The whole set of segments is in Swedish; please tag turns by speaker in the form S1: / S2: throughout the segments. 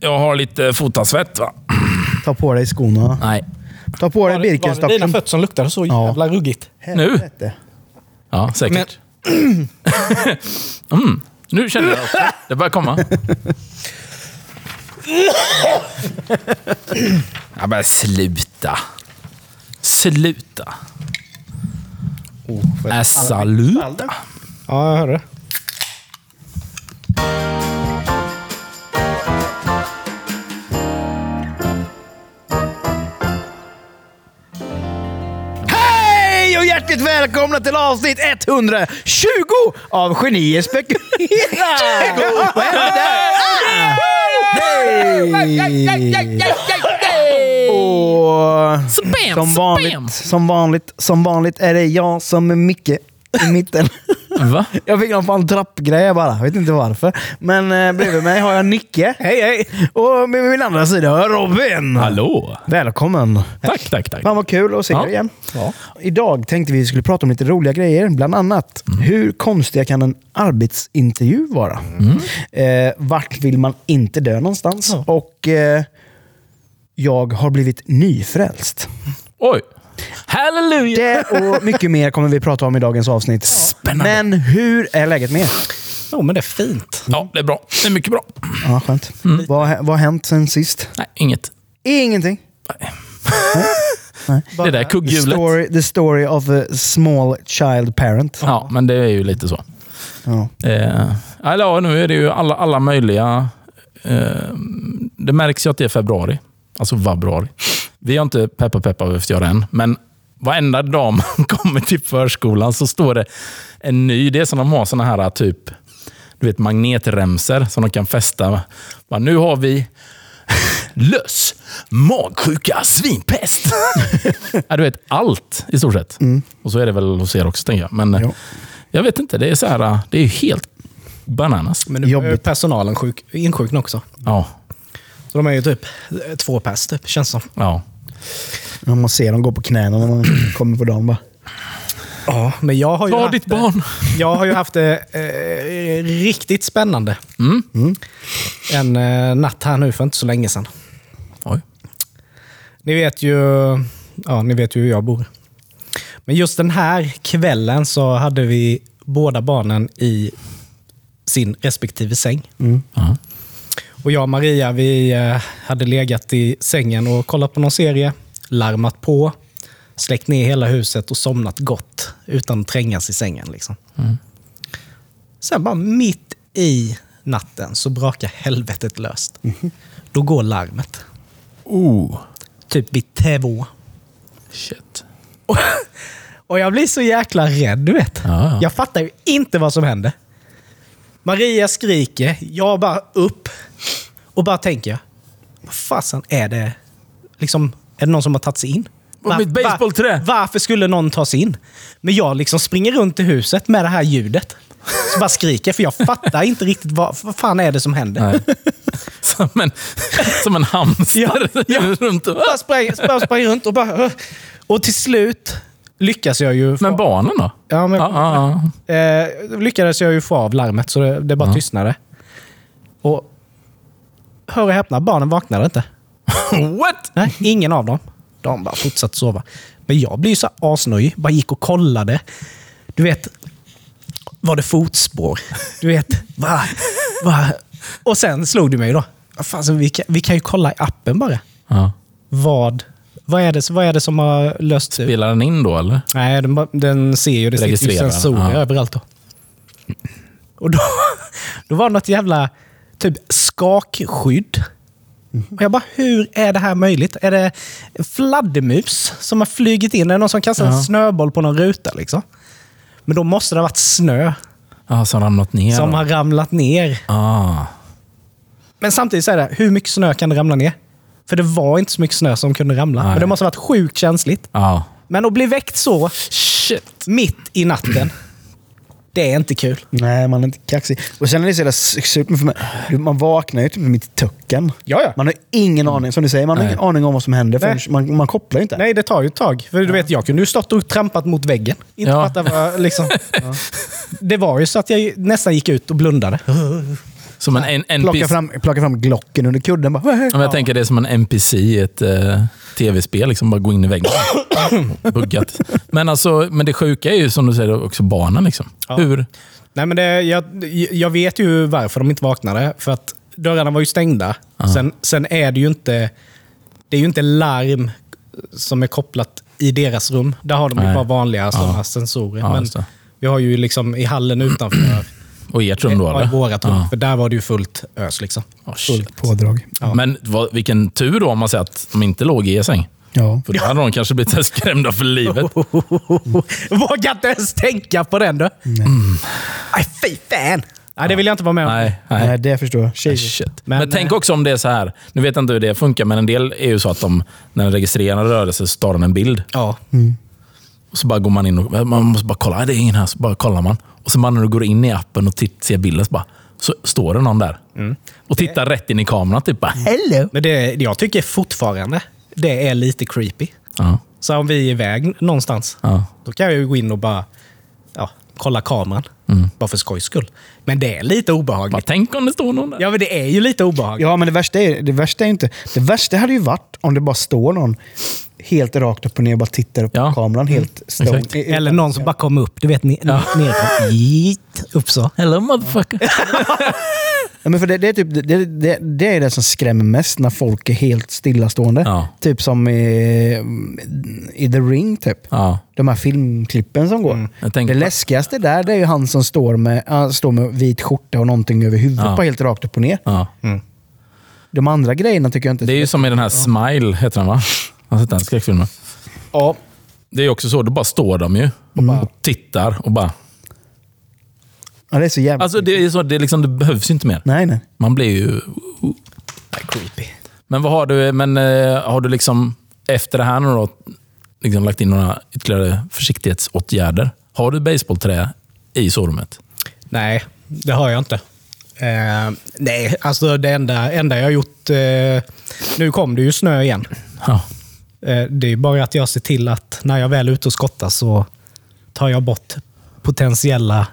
S1: Jag har lite fotasvett va?
S2: Ta på dig skorna.
S1: Nej.
S2: Ta på dig
S3: Var det- var det dina
S2: Birkenstocken.
S3: fötter som luktade så
S2: Ja.
S3: jävla ruggigt?
S1: Nu?
S2: Helvete.
S1: Ja, säkert. mm. Nu känner jag också. Det börjar komma. Ja, men sluta. Sluta.
S3: Oh,
S1: Äh, saluta.
S3: ja, jag hörde det.
S2: Hej och hjärtligt välkomna till avsnitt 120 av Genier spekulerar! Vad hände där? Och
S1: Spam,
S2: som
S1: spam.
S2: vanligt, som vanligt, som vanligt är det jag som är Micke i mitten.
S1: Va?
S2: Jag fick någon fan trappgrej bara, jag vet inte varför. Men eh, bredvid mig har jag Nicke. Hej hej! Och med min andra sida har jag Robin.
S1: Hallå.
S2: Välkommen!
S1: Tack, tack, tack.
S2: Fan vad kul att se
S1: Ja.
S2: er igen. Idag tänkte vi skulle prata om lite roliga grejer. Bland annat, hur konstiga kan en arbetsintervju vara? Eh, vart vill man inte dö någonstans? Och eh, jag har blivit nyfrälst.
S1: Oj. Halleluja.
S2: Det och mycket mer kommer vi prata om i dagens avsnitt.
S1: Spännande.
S2: Men hur är läget med er?
S3: Jo, men det är fint.
S1: Ja, det är bra. Det är mycket bra.
S2: Ja, skönt. Mm. Vad, vad har hänt sen sist?
S1: Nej, inget.
S2: Ingenting.
S1: Det där
S2: The
S1: kugghjulet.
S2: story, the story of a small child parent.
S1: Ja, men det är ju lite så.
S2: Ja.
S1: Eh, eller ja, nu är det ju alla, alla möjliga... Eh, det märks ju att det är februari. Alltså februari. Vi har inte peppa peppa behövt göra än, men varenda dag man kommer till förskolan så står det en ny... Det är som de har såna här typ... Du vet magnetremser som de kan fästa. Bara, nu har vi löss, magsjuka, svinpest. ja, du vet, allt i stort sett. Och så är det väl hos er också, tänker jag. Men eh,
S2: Jo.
S1: jag vet inte, det är så här, eh, det är ju helt bananas.
S3: Men nu är
S2: Jobbigt.
S3: personalen sjuk, insjukna också.
S1: Ja,
S3: Så de är ju typ två pers, typ, känns som.
S1: ja.
S2: Ja, Man ser dem gå på knäna när man kommer på dagen bara.
S3: Ja, men jag har ju
S1: Ta
S3: haft,
S1: ditt barn.
S3: Jag har ju haft det eh, riktigt spännande. Mm. En eh, natt här nu för inte så länge sedan.
S1: Oj.
S3: Ni vet ju, ja, ni vet ju hur jag bor. Men just den här kvällen så hade vi båda barnen i sin respektive säng.
S1: Ja.
S3: Och jag och Maria vi eh, hade legat i sängen och kollat på någon serie, larmat på, släckt ner hela huset och somnat gott utan att trängas i sängen. Liksom. Sen bara mitt i natten så brakar helvetet löst. Då går larmet.
S1: Oh.
S3: Typ vid två.
S1: Shit.
S3: Och jag blir så jäkla rädd, du vet.
S1: Ja, ja.
S3: Jag fattar ju inte vad som hände. Maria skriker, jag bara upp och bara tänker, jag, vad fasen är det? Liksom, är det någon som har tagit sig in?
S1: Och mitt baseballträ.
S3: varför skulle någon ta sig in? Men jag liksom springer runt i huset med det här ljudet. Så bara skriker, för jag fattar inte riktigt vad, vad fan är det som händer.
S1: Nej. Som en, som en hamster.
S3: Ja, ja.
S1: Runt och,
S3: Bara sprang, bara sprang runt och bara... Och till slut lyckas jag ju... få-
S1: men barnen då?
S3: ja, men,
S1: Ja, ja, ja.
S3: Eh, lyckades jag ju få av larmet så det, det bara tystnade. Och hör och häpna, barnen vaknade inte.
S1: What?
S3: Nej, ingen av dem. De bara fortsatte sova. Men jag blev ju så asnöjd. Bara gick och kollade. Du vet, var det fotspår? Du vet, va, va. Och sen slog det mig då. Vad Fan, så vi, kan, vi kan ju kolla i appen bara.
S1: Ja.
S3: Vad, vad, är, det, vad är det som har löst ut?
S1: Spelar den in då, eller?
S3: Nej, den, bara- den ser ju. Det sitter ju
S1: Registrerar,
S3: sensorer
S1: ja.
S3: överallt. Då. Och då, då var det något jävla typ skakskydd.
S1: Mhm.
S3: Och jag bara, hur är det här möjligt? Är det fladdermus som har flugit in? Är det någon som kastar en snöboll på någon ruta? Liksom? Men då måste det ha varit snö
S1: Ja, som ramlat ner.
S3: som
S1: då.
S3: har ramlat ner.
S1: ah.
S3: Men samtidigt så är det, hur mycket snö kan det ramla ner? För det var inte så mycket snö som kunde ramla.
S1: Nej.
S3: Men det måste ha varit sjukt känsligt.
S1: ja.
S3: Men att bli väckt så
S1: Shit.
S3: mitt i natten, det är inte kul.
S2: Nej, man är inte kaxig. Och sen är det så jävla su- surt med- för mig. Du, Man vaknar ju typ mitt i töcken.
S3: Ja, ja.
S2: Man har ingen aning, som du säger, man har
S1: Nej.
S2: ingen aning om vad som händer. förrän
S3: Nej.
S2: Man, man kopplar ju inte.
S3: Nej, det tar ju ett tag. För du vet, jag kunde ju stått och trampat mot väggen. Inte
S1: Ja.
S3: fattat vad, liksom. Det var ju så att jag nästan gick ut och blundade.
S1: Som en, en
S2: Plocka
S1: NPC.
S2: fram, plocka fram Glocken under kudden. Bara, "Hä, hä."
S1: Om jag tänker det är som en NPC i ett eh, tv-spel, liksom bara gå in i väggen. Buggat. Men, alltså, men det sjuka är ju som du säger också barnen. Liksom. Hur?
S3: Nej, men det, jag, jag vet ju varför de inte vaknade. För att dörrarna var ju stängda. Sen, sen är det ju inte Det är ju inte larm som är kopplat i deras rum. Där har de ju
S1: Nej.
S3: bara vanliga sådana sensorer.
S1: Ja,
S3: men
S1: just det.
S3: vi har ju liksom i hallen utanför
S1: Och i ert rum då?
S3: ja, i
S1: eller?
S3: vårat rum.
S1: Ja.
S3: För där var det ju fullt ös. Liksom.
S1: Oh, shit.
S2: Pådrag.
S1: Men vad, vilken tur då om man säger att de inte låg i er säng.
S2: Ja.
S1: För då hade de kanske blivit så här skrämda för livet.
S3: Vågar inte ens tänka på den du! Nej, fy fan! Nej, det vill jag inte vara med om.
S1: Nej, nej.
S2: Nej, eh, det förstår jag. Tjejer.
S1: Shit. Men,
S3: Men,
S1: tänk också om det är så här. Nu vet jag inte hur det funkar, men en del är ju så att de, när den registrerar en rörelse så tar den en bild.
S3: Ja.
S2: Mm.
S1: Och så bara går man in och man måste bara kolla. "Nej, Det är ingen här. Så bara kollar man. Och sen bara när du går in i appen och titt, ser bilden så, bara, så står det någon där.
S2: Mm.
S1: Och tittar rätt in i kameran. Typ bara, hello!
S3: Men det, jag tycker fortfarande det är lite creepy.
S1: Ja,
S3: Så om vi är iväg någonstans,
S1: ja.
S3: då kan jag ju gå in och bara ja, kolla kameran.
S1: Mm.
S3: Bara för skojs skull. Men det är lite
S1: Bara,
S3: obehagligt.
S1: tänk om det står någon där.
S3: Ja, men det är ju lite obehagligt.
S2: Ja, men det värsta är, det värsta är inte... Det värsta hade ju varit om det bara står någon helt rakt upp och ner och bara tittar upp
S1: Ja.
S2: på kameran helt stone.
S1: exakt.
S2: I- i-
S3: Eller någon som bara kom upp, du vet, ner, nerifrån. Jeet, Upp så.
S1: Hello motherfucker!
S2: Ja, men för det, det, är typ, det, det, det är det som skrämmer mest, när folk är helt stillastående.
S1: Ja.
S2: Typ som i, i The Ring, typ.
S1: Ja. Mm.
S2: De här filmklippen som går.
S1: Jag
S2: Det
S1: tänker på-
S2: läskigaste där det är ju han som står med, han står med vit skjorta och någonting över huvudet,
S1: Ja.
S2: bara helt rakt upp och ner.
S1: Ja.
S2: De andra grejerna tycker jag inte...
S1: Det är ju som i den här Smile, heter den va? Har du sett den skräckfilmen?
S2: ja.
S1: Det är också så, då bara står de ju och
S2: Mm.
S1: bara tittar och bara...
S2: ja, det är så jävla...
S1: Alltså det, är så, det, är liksom, det behövs ju inte mer.
S2: nej, nej.
S1: Man blir ju...
S3: Creepy.
S1: Men vad har du, men, eh, har du liksom efter det här nu då, liksom lagt in några ytterligare försiktighetsåtgärder? Har du baseballträ i sovrummet?
S3: Nej, det har jag inte. Eh, nej, alltså det enda, enda jag har gjort... Eh, nu kom det ju snö igen.
S1: Ja.
S3: Eh, Det är ju bara att jag ser till att när jag väl är ute och skottar så tar jag bort potentiella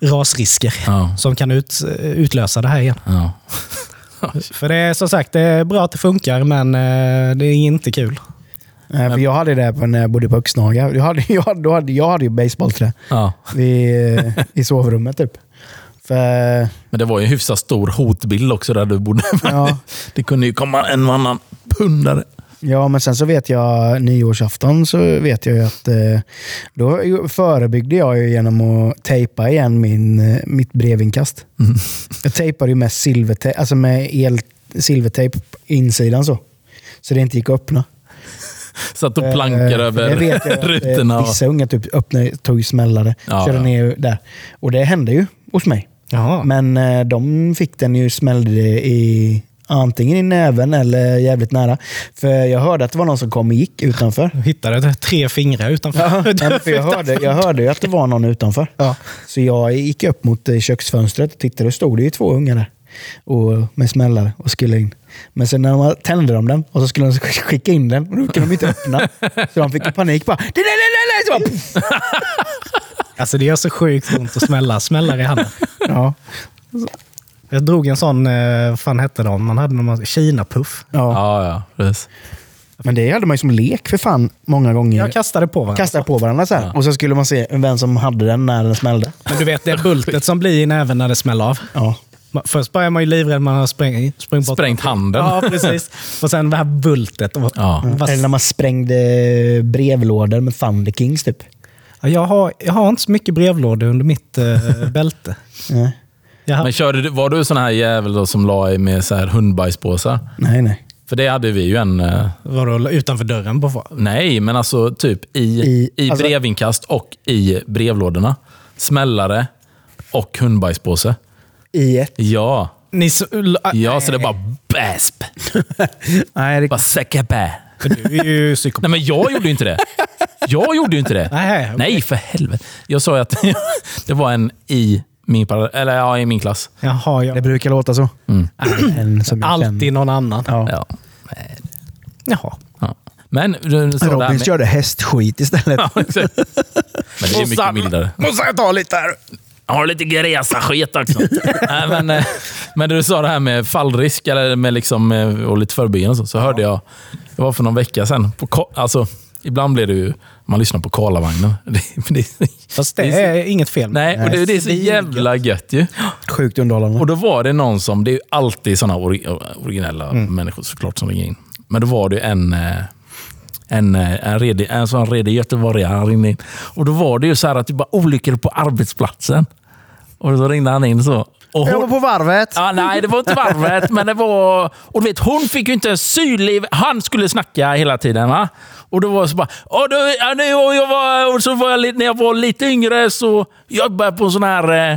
S3: rasrisker
S1: Ja.
S3: som kan ut, eh, utlösa det här igen.
S1: ja.
S3: För det är som sagt det är bra att det funkar, men eh, det är inte kul.
S2: Nej, för jag hade det på när jag bodde på Öxnaga. Jag hade, jag, hade- då hade, jag hade ju basebollträ
S1: ja.
S2: i, i sovrummet typ. För,
S1: Men det var ju en hyfsat stor hotbild också där du bodde.
S2: Ja.
S1: Det kunde ju komma en och annan pundare.
S2: ja, men sen så vet jag, nyårsafton så vet jag ju att eh, då förebyggde jag ju genom att tejpa igen min, eh, mitt brevinkast.
S1: Mm.
S2: Jag tejpade ju med silvertejp, alltså med el, silvertejp på insidan så. Så det inte gick att öppna.
S1: Satt och plankar
S2: Eh,
S1: över
S2: det vet jag att, eh,
S1: rutorna. och-
S2: Vissa unga typ öppnade, tog smällare,
S1: Ja,
S2: körde
S1: ja.
S2: ner där. Och det hände ju hos mig.
S3: Jaha.
S2: Men eh, de fick den ju smällde det i antingen i näven eller jävligt nära. För jag hörde att det var någon som kom och gick utanför.
S3: Jag hittade tre fingrar utanför.
S2: Nej, men för jag, hörde, jag hörde ju att det var någon utanför.
S3: Ja.
S2: Så jag gick upp mot eh, köksfönstret och tittade. Då stod det ju två ungar där och, med smällare och skulle in. Men sen när de tände de den och så skulle de sk- skicka in den och då kunde de inte öppna. Så de fick ju panik bara. Det där, det där, det där! Så bara, puff.
S3: Alltså det gör så sjukt ont att smälla smällare i handen.
S2: ja.
S3: Jag drog en sån, eh, vad fan hette de? Man hade någon Kina-puff.
S2: Ja.
S1: Ja, ja. Precis.
S2: Men det hade man ju som lek för fan många gånger.
S3: Jag kastade på varandra.
S2: Kastade på varandra så här. Och så skulle man se vem som hade den när den smällde.
S3: Men du vet, det är bultet som blir i näven när det smäller av.
S2: Ja.
S3: Man- Först börjar man ju livrädd, man har spräng, sprungit bort.
S1: Sprängt handen.
S3: Ja, precis. Och sen det här bultet. Och, Mm.
S1: Ja.
S3: Vad-
S2: Eller när man sprängde brevlådor med Thunder Kings typ.
S3: Ja, jag, har, jag har inte så mycket brevlådor under mitt eh, bälte.
S2: Nej,
S3: Jag har,
S1: Men körde du, var du sån här jävel då som la i med så här hundbajspåsar?
S2: nej. nej.
S1: För det hade vi ju en... eh,
S3: vadå, utanför dörren? På,
S1: Nej, men alltså typ i,
S2: I-
S1: i,
S2: alltså-
S1: brevinkast och i brevlådorna. Smällare och hundbajspåse.
S2: I ett.
S1: Ja,
S3: ni, s- l- ah,
S1: ja så det är bara basp.
S2: Nej, det...
S1: Bara säcka bä.
S3: för Du är ju psykopat.
S1: Nej, men jag gjorde ju inte det. Jag gjorde ju inte det.
S3: Nej, okej.
S1: Nej, för helvete. Jag sa ju att det var en i min, par- eller, ja, i min klass.
S3: Jaha, jag,
S2: det brukar låta så.
S1: Mm.
S2: En som jag
S3: alltid
S2: känner.
S3: någon annan.
S2: Ja.
S1: Ja.
S3: Jaha.
S1: Ja. Men du, du sa det här
S2: Robin
S1: med...
S2: körde hästskit istället.
S1: Ja, exakt. Men det är mycket mildare.
S2: Måste jag ta lite här?
S1: Jag har lite Gresa-skit också. Nej, men, eh, men när du sa det här med fallrisk eller med liksom, eh, och lite förebyggande och så, så hörde jag, det var för någon vecka sedan, på, Ka- alltså, ibland blir det ju, man lyssnar på Karlavagnen. Det, det, är så-
S3: Fast det
S1: är så-
S3: är inget fel.
S1: nej, och det, det är så jävla gött ju.
S2: Sjukt underhållande.
S1: Och då var det någon som, det är ju alltid sådana ori originella människor såklart som ringer in. Men då var det ju en, eh, en, eh, en, redig, en sån redig göteborgare ringde in. Och då var det ju så här att det var olyckor på arbetsplatsen. Och då ringde han in så. Och
S2: Jag
S1: hon,
S2: var på varvet.
S1: Ja, nej, det var inte varvet, men det var... Och du vet, hon fick ju inte en syrlig... Han skulle snacka hela tiden. va? Och då var det så bara... Och då, ja, nu, och jag var, och så var jag, lite- när jag var lite yngre så jobbade jag på en sån här...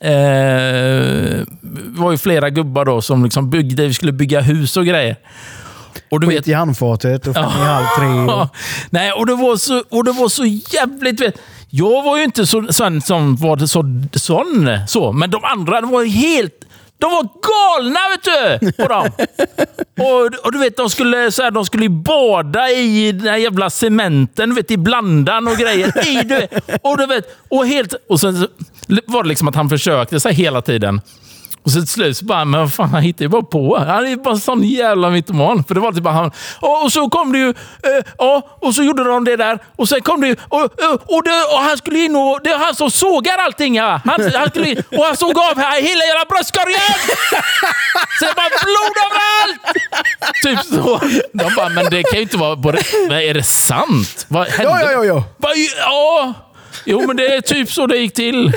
S1: Eh, eh, det var ju flera gubbar då som liksom byggde, vi skulle bygga hus och grejer. Och du vet,
S2: Skit i handfatet och fan i halv tre.
S1: Ja.
S2: och-
S1: Nej, och det var så, och det var så jävligt... Vet, jag var ju inte så, sån som var så, sån, så, men de andra de var helt... De var galna vet du! På dem. och, och du vet, de skulle, så här, de skulle ju bada i den här jävla cementen, du vet, i blandan och grejer. I, du vet, och, du vet, och, helt, och sen så var det liksom att han försökte så här hela tiden. Och så till slut så bara, men vad fan, han hittar ju bara på. Han är ju bara en sån jävla mytoman. För det var typ bara han. "Ja, Och så kom det ju, eh, ja, och så gjorde de det där. Och sen kom det ju, och, eh, och, och, det, och han skulle in och, det är han som sågar allting ja. Han, han skulle in, och han såg av här, hela jävla bröstkorgen! Så det bara blod överallt! Typ så. De bara, men det kan ju inte vara på det. Men är det sant? Vad hände?
S2: Ja, ja, ja, ja.
S1: Vad, ja. Jo, men det är typ så det gick till.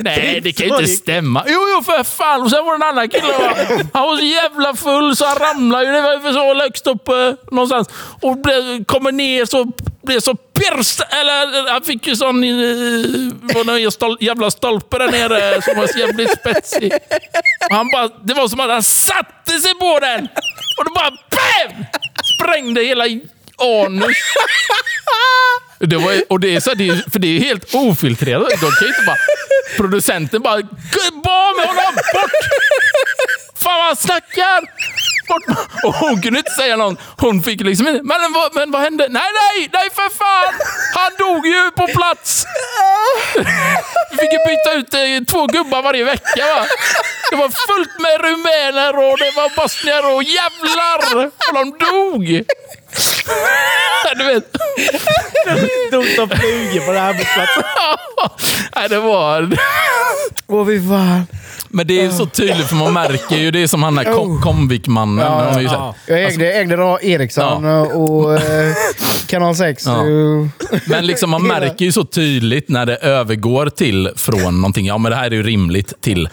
S1: Nej, det
S2: typ
S1: kan ju inte stämma. Jo, jo, för fan. Och sen var det en annan kille. va? Han var så jävla full så han ramlade ju. Det var ju så högst upp eh, någonstans. Och blev, kommer ner så blev så pierced. Eller eh, han fick ju sån... eh, var någon stol, jävla stolpe där nere som var så jävligt spetsig. Och han bara, det var som att han satte sig på den. Och det bara BAM! Sprängde hela anus. Det var, och det är så, här, det är, för det är helt ofiltrerat. De kan ju inte bara... Producenten bara... "Gud, Bara med honom! Bort! Fan vad han snackar! Bort! Och hon kunde inte säga någon. Hon fick liksom inte... Men, vad- men vad hände? Nej, nej, nej för fan! Han dog ju på plats! Vi fick ju byta ut eh, två gubbar varje vecka va. Det var fullt med rumäner och det var bosnier och jävlar! Och de dog! Du vet.
S3: Drog som flugor på det här arbetsplatsen.
S1: Nej, det var...
S2: Åh, fy fan.
S1: Men det är så tydligt, för man märker ju. Det är som han där kom Comvik-mannen. Han är ju så här-
S2: Jag ägde, ägde då Ericsson och eh, Kanal Eh, 6.
S1: Ja.
S2: och-
S1: Men liksom, man
S2: Hela-
S1: märker ju så tydligt när det övergår till från någonting, ja men det här är ju rimligt, till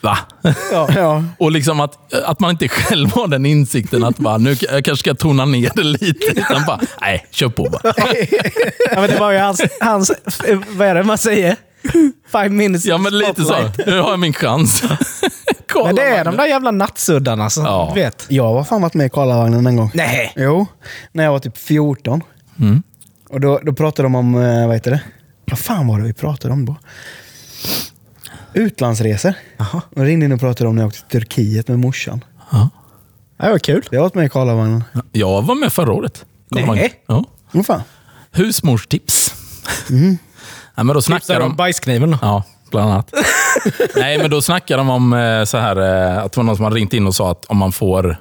S1: va?
S2: Ja. Ja.
S1: Och liksom att, att man inte själv har den insikten att bara, nu jag kanske ska tona ner det lite. Utan bara, nej, kör på bara.
S3: Ja, men det var ju hans, hans... eh, Vad är det man säger? Five minutes
S1: Ja, men lite så.
S3: spotlight.
S1: Nu har jag min chans. Kolla
S3: Men det är
S1: man.
S3: de där jävla nattsuddarna som
S1: Ja.
S3: du vet.
S2: Jag har fan varit med i Karlavagnen en gång.
S3: Nej.
S2: Jo, när jag var typ 14. Och då, då pratade de om, eh, vad heter det? Vad fan var det vi pratade om då? Utlandsresor. De ringde in och pratade om när jag åkte till Turkiet med morsan.
S1: Ja.
S3: Det var kul.
S2: Jag har varit med i Karlavagnen.
S1: Jag var med förra året. Kolla
S3: Nej.
S1: man. Ja.
S2: Vad fan?
S1: Husmorstips. Nej, men då snackar
S3: Tipsade
S1: de...
S3: Mm. om bajskniven då?
S1: Ja, bland annat. Nej, men då snackar de om eh, så här, eh, att det var någon som hade ringt in och sa att om man får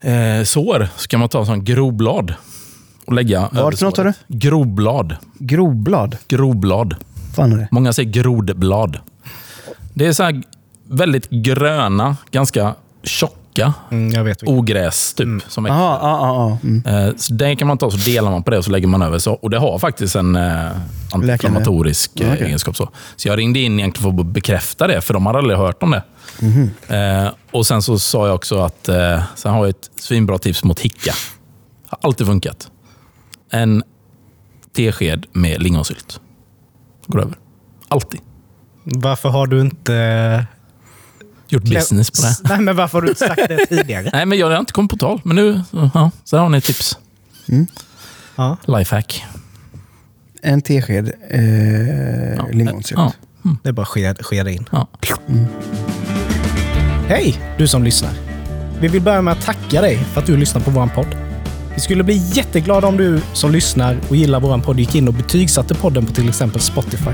S1: eh, sår så kan man ta en sån groblad och lägga över
S2: för något,
S1: såret.
S2: sa
S1: Groblad.
S2: Groblad?
S1: Groblad.
S2: fan är det?
S1: Många säger grodblad. Det är så här väldigt gröna, ganska tjocka
S3: Mm, jag vet. vilken.
S1: ogräs typ. Som växer.
S2: Jaha, ja, ja, ja. Mm.
S1: Eh, Så den kan man ta, så delar man på det och så lägger man över. Så, och det har faktiskt en eh, antiinflammatorisk eh, egenskap. Så. så jag ringde in egentligen för att bekräfta det, för de hade aldrig hört om det. Eh, och Sen så sa jag också att eh, sen har jag ett svinbra tips mot hicka. Har alltid funkat. En tesked med lingonsylt. Går över. Alltid.
S3: Varför har du inte... eh,
S1: Gjort business på det.
S3: Nej, men varför har du inte sagt det tidigare?
S1: Nej, men jag har inte kommit på tal. Men nu, ja, så här har ni ett tips.
S3: Ja.
S1: Lifehack.
S2: En tesked eh, lingonsylt.
S1: Ja.
S3: Det är bara sked, skeda in.
S1: Ja.
S3: Hej, du som lyssnar. Vi vill börja med att tacka dig för att du lyssnar på vår podd. Vi skulle bli jätteglada om du som lyssnar och gillar vår podd gick in och betygsatte podden på till exempel Spotify.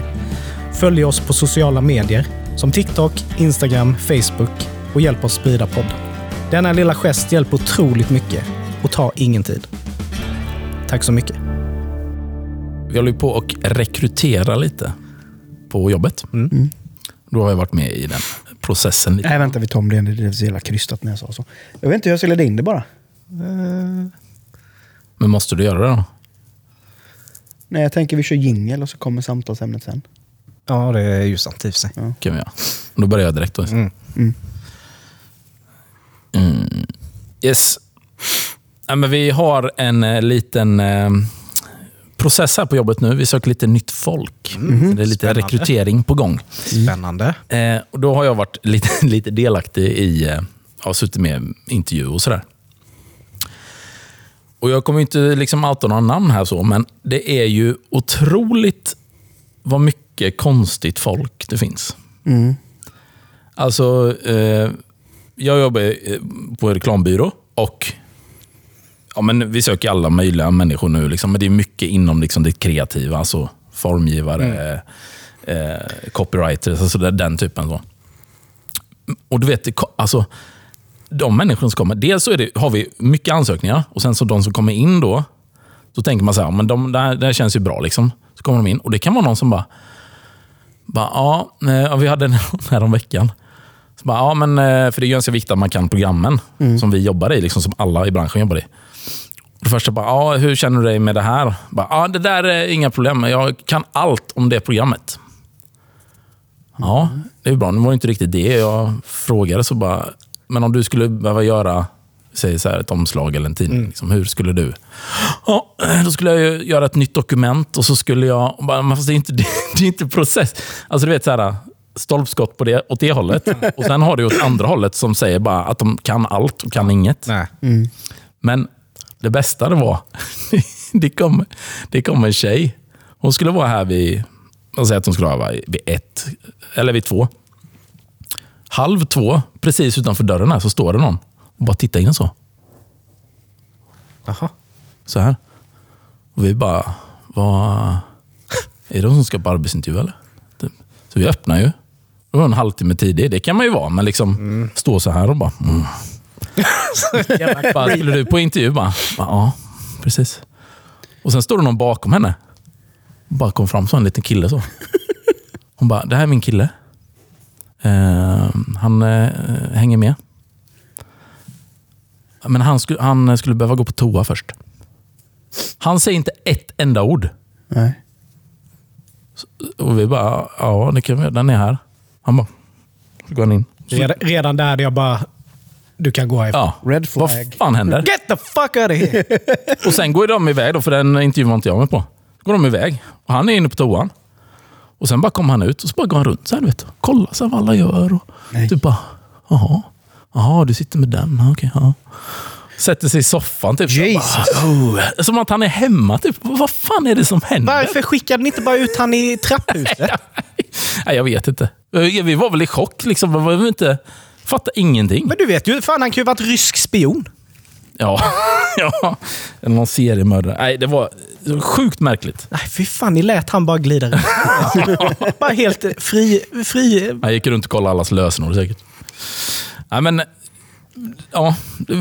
S3: Följ oss på sociala medier som TikTok, Instagram, Facebook och hjälp oss sprida podden. Denna lilla gest hjälper otroligt mycket och tar ingen tid. Tack så mycket.
S1: Vi håller ju på och rekrytera lite på jobbet. Mm. Då har jag varit med i den processen. lite.
S2: Nej, vänta, vi tar om det. igen. Det är så jävla krystat när jag sa så. Jag vet inte hur jag skulle lägga in det bara.
S1: Men måste du göra det då?
S2: Nej, jag tänker vi kör jingel och så kommer samtalsämnet sen.
S3: Ja, det är ju sant i och för sig.
S1: kan vi göra. Då börjar jag direkt. Då. Mm. Yes. Ja, men vi har en eh, liten eh, process här på jobbet nu. Vi söker lite nytt folk. Så det är lite rekrytering på gång.
S3: Spännande.
S1: Eh, och då har jag varit lite, lite delaktig i, eh, har suttit med i intervju och sådär. Och jag kommer ju inte liksom outa några namn här så, men det är ju otroligt vad mycket konstigt folk det finns. Alltså, eh, jag jobbar eh, på en reklambyrå och ja, men vi söker alla möjliga människor nu. Liksom, men det är mycket inom liksom, det kreativa, alltså formgivare, eh, copywriters, alltså där- den typen. Så. Och du vet, det ko- alltså, de människor som kommer, dels så är det, har vi mycket ansökningar och sen så de som kommer in då, så tänker man så här, men de, det, här, det här känns ju bra. liksom. Så kommer de in och det kan vara någon som bara, bara ja, eh, ja, vi hade en här om veckan. Så bara, ja, men, eh, för det är ju ganska viktigt att man kan programmen som vi jobbar i, liksom, som alla i branschen jobbar i. Och det första bara, ja, hur känner du dig med det här? Bara, ja, det där är inga problem, men jag kan allt om det programmet. Ja, det är bra. Nu var det inte riktigt det jag frågade. Så bara, men om du skulle behöva göra säg så här, ett omslag eller en tidning, liksom, hur skulle du? Ja, då skulle jag ju göra ett nytt dokument och så skulle jag... och Bara, men fast det, är inte, det är inte process. Alltså du vet, så här, stolpskott på det, åt det hållet. Och sen har du åt andra hållet som säger bara att de kan allt och kan inget.
S3: Nej.
S1: Men det bästa det var, det kom, det kom en tjej. Hon skulle vara här vid, jag säger att hon skulle vara här vid ett, eller vid två. Halv två, precis utanför dörren här, så står det någon och bara tittar in så.
S3: Jaha.
S1: Så här. Och vi bara, vad... Är det de som ska på arbetsintervju eller? Typ. Så vi öppnar ju. Det var en halvtimme tidig, det kan man ju vara, men liksom stå så här och bara... Mm. bara skulle du på intervju? Bara, bara, ja, precis. Och sen står det någon bakom henne. Och bara kom fram så en liten kille så. Hon bara, det här är min kille. Eh, han eh, hänger med. Men han skulle, han skulle behöva gå på toa först. Han säger inte ett enda ord.
S2: Nej.
S1: Och vi bara, ja det kan vi göra. Den är här. Han bara, så går han in.
S3: Redan, redan där hade jag bara... Du kan gå härifrån.
S1: Ja,
S2: Red flag.
S1: vad fan händer?
S3: Get the fuck out of here!
S1: Och sen går ju de iväg, då, för den intervjun var inte jag med på. går de iväg och han är inne på toan. Och sen bara kommer han ut och så bara går han runt så här, du vet. Kollar så här vad alla gör. Och
S2: Nej.
S1: typ bara, jaha. Jaha, du sitter med den. Ja, Okej, ja. Sätter sig i soffan typ.
S2: Jesus.
S1: Så Bara, oh. Som att han är hemma typ. Vad fan är det som händer?
S3: Varför skickade ni inte bara ut han i trapphuset?
S1: Nej, jag vet inte. Vi var väl i chock liksom. Vi var väl inte... Fattade ingenting.
S3: Men du vet ju, fan han kan ju varit rysk spion.
S1: Ja. ja. Eller någon seriemördare. Nej, det var sjukt märkligt.
S3: Nej, fy fan, ni lät han bara glida runt. bara helt fri, fri...
S1: Jag gick runt och kollade allas lösenord säkert. Nej, men... Ja,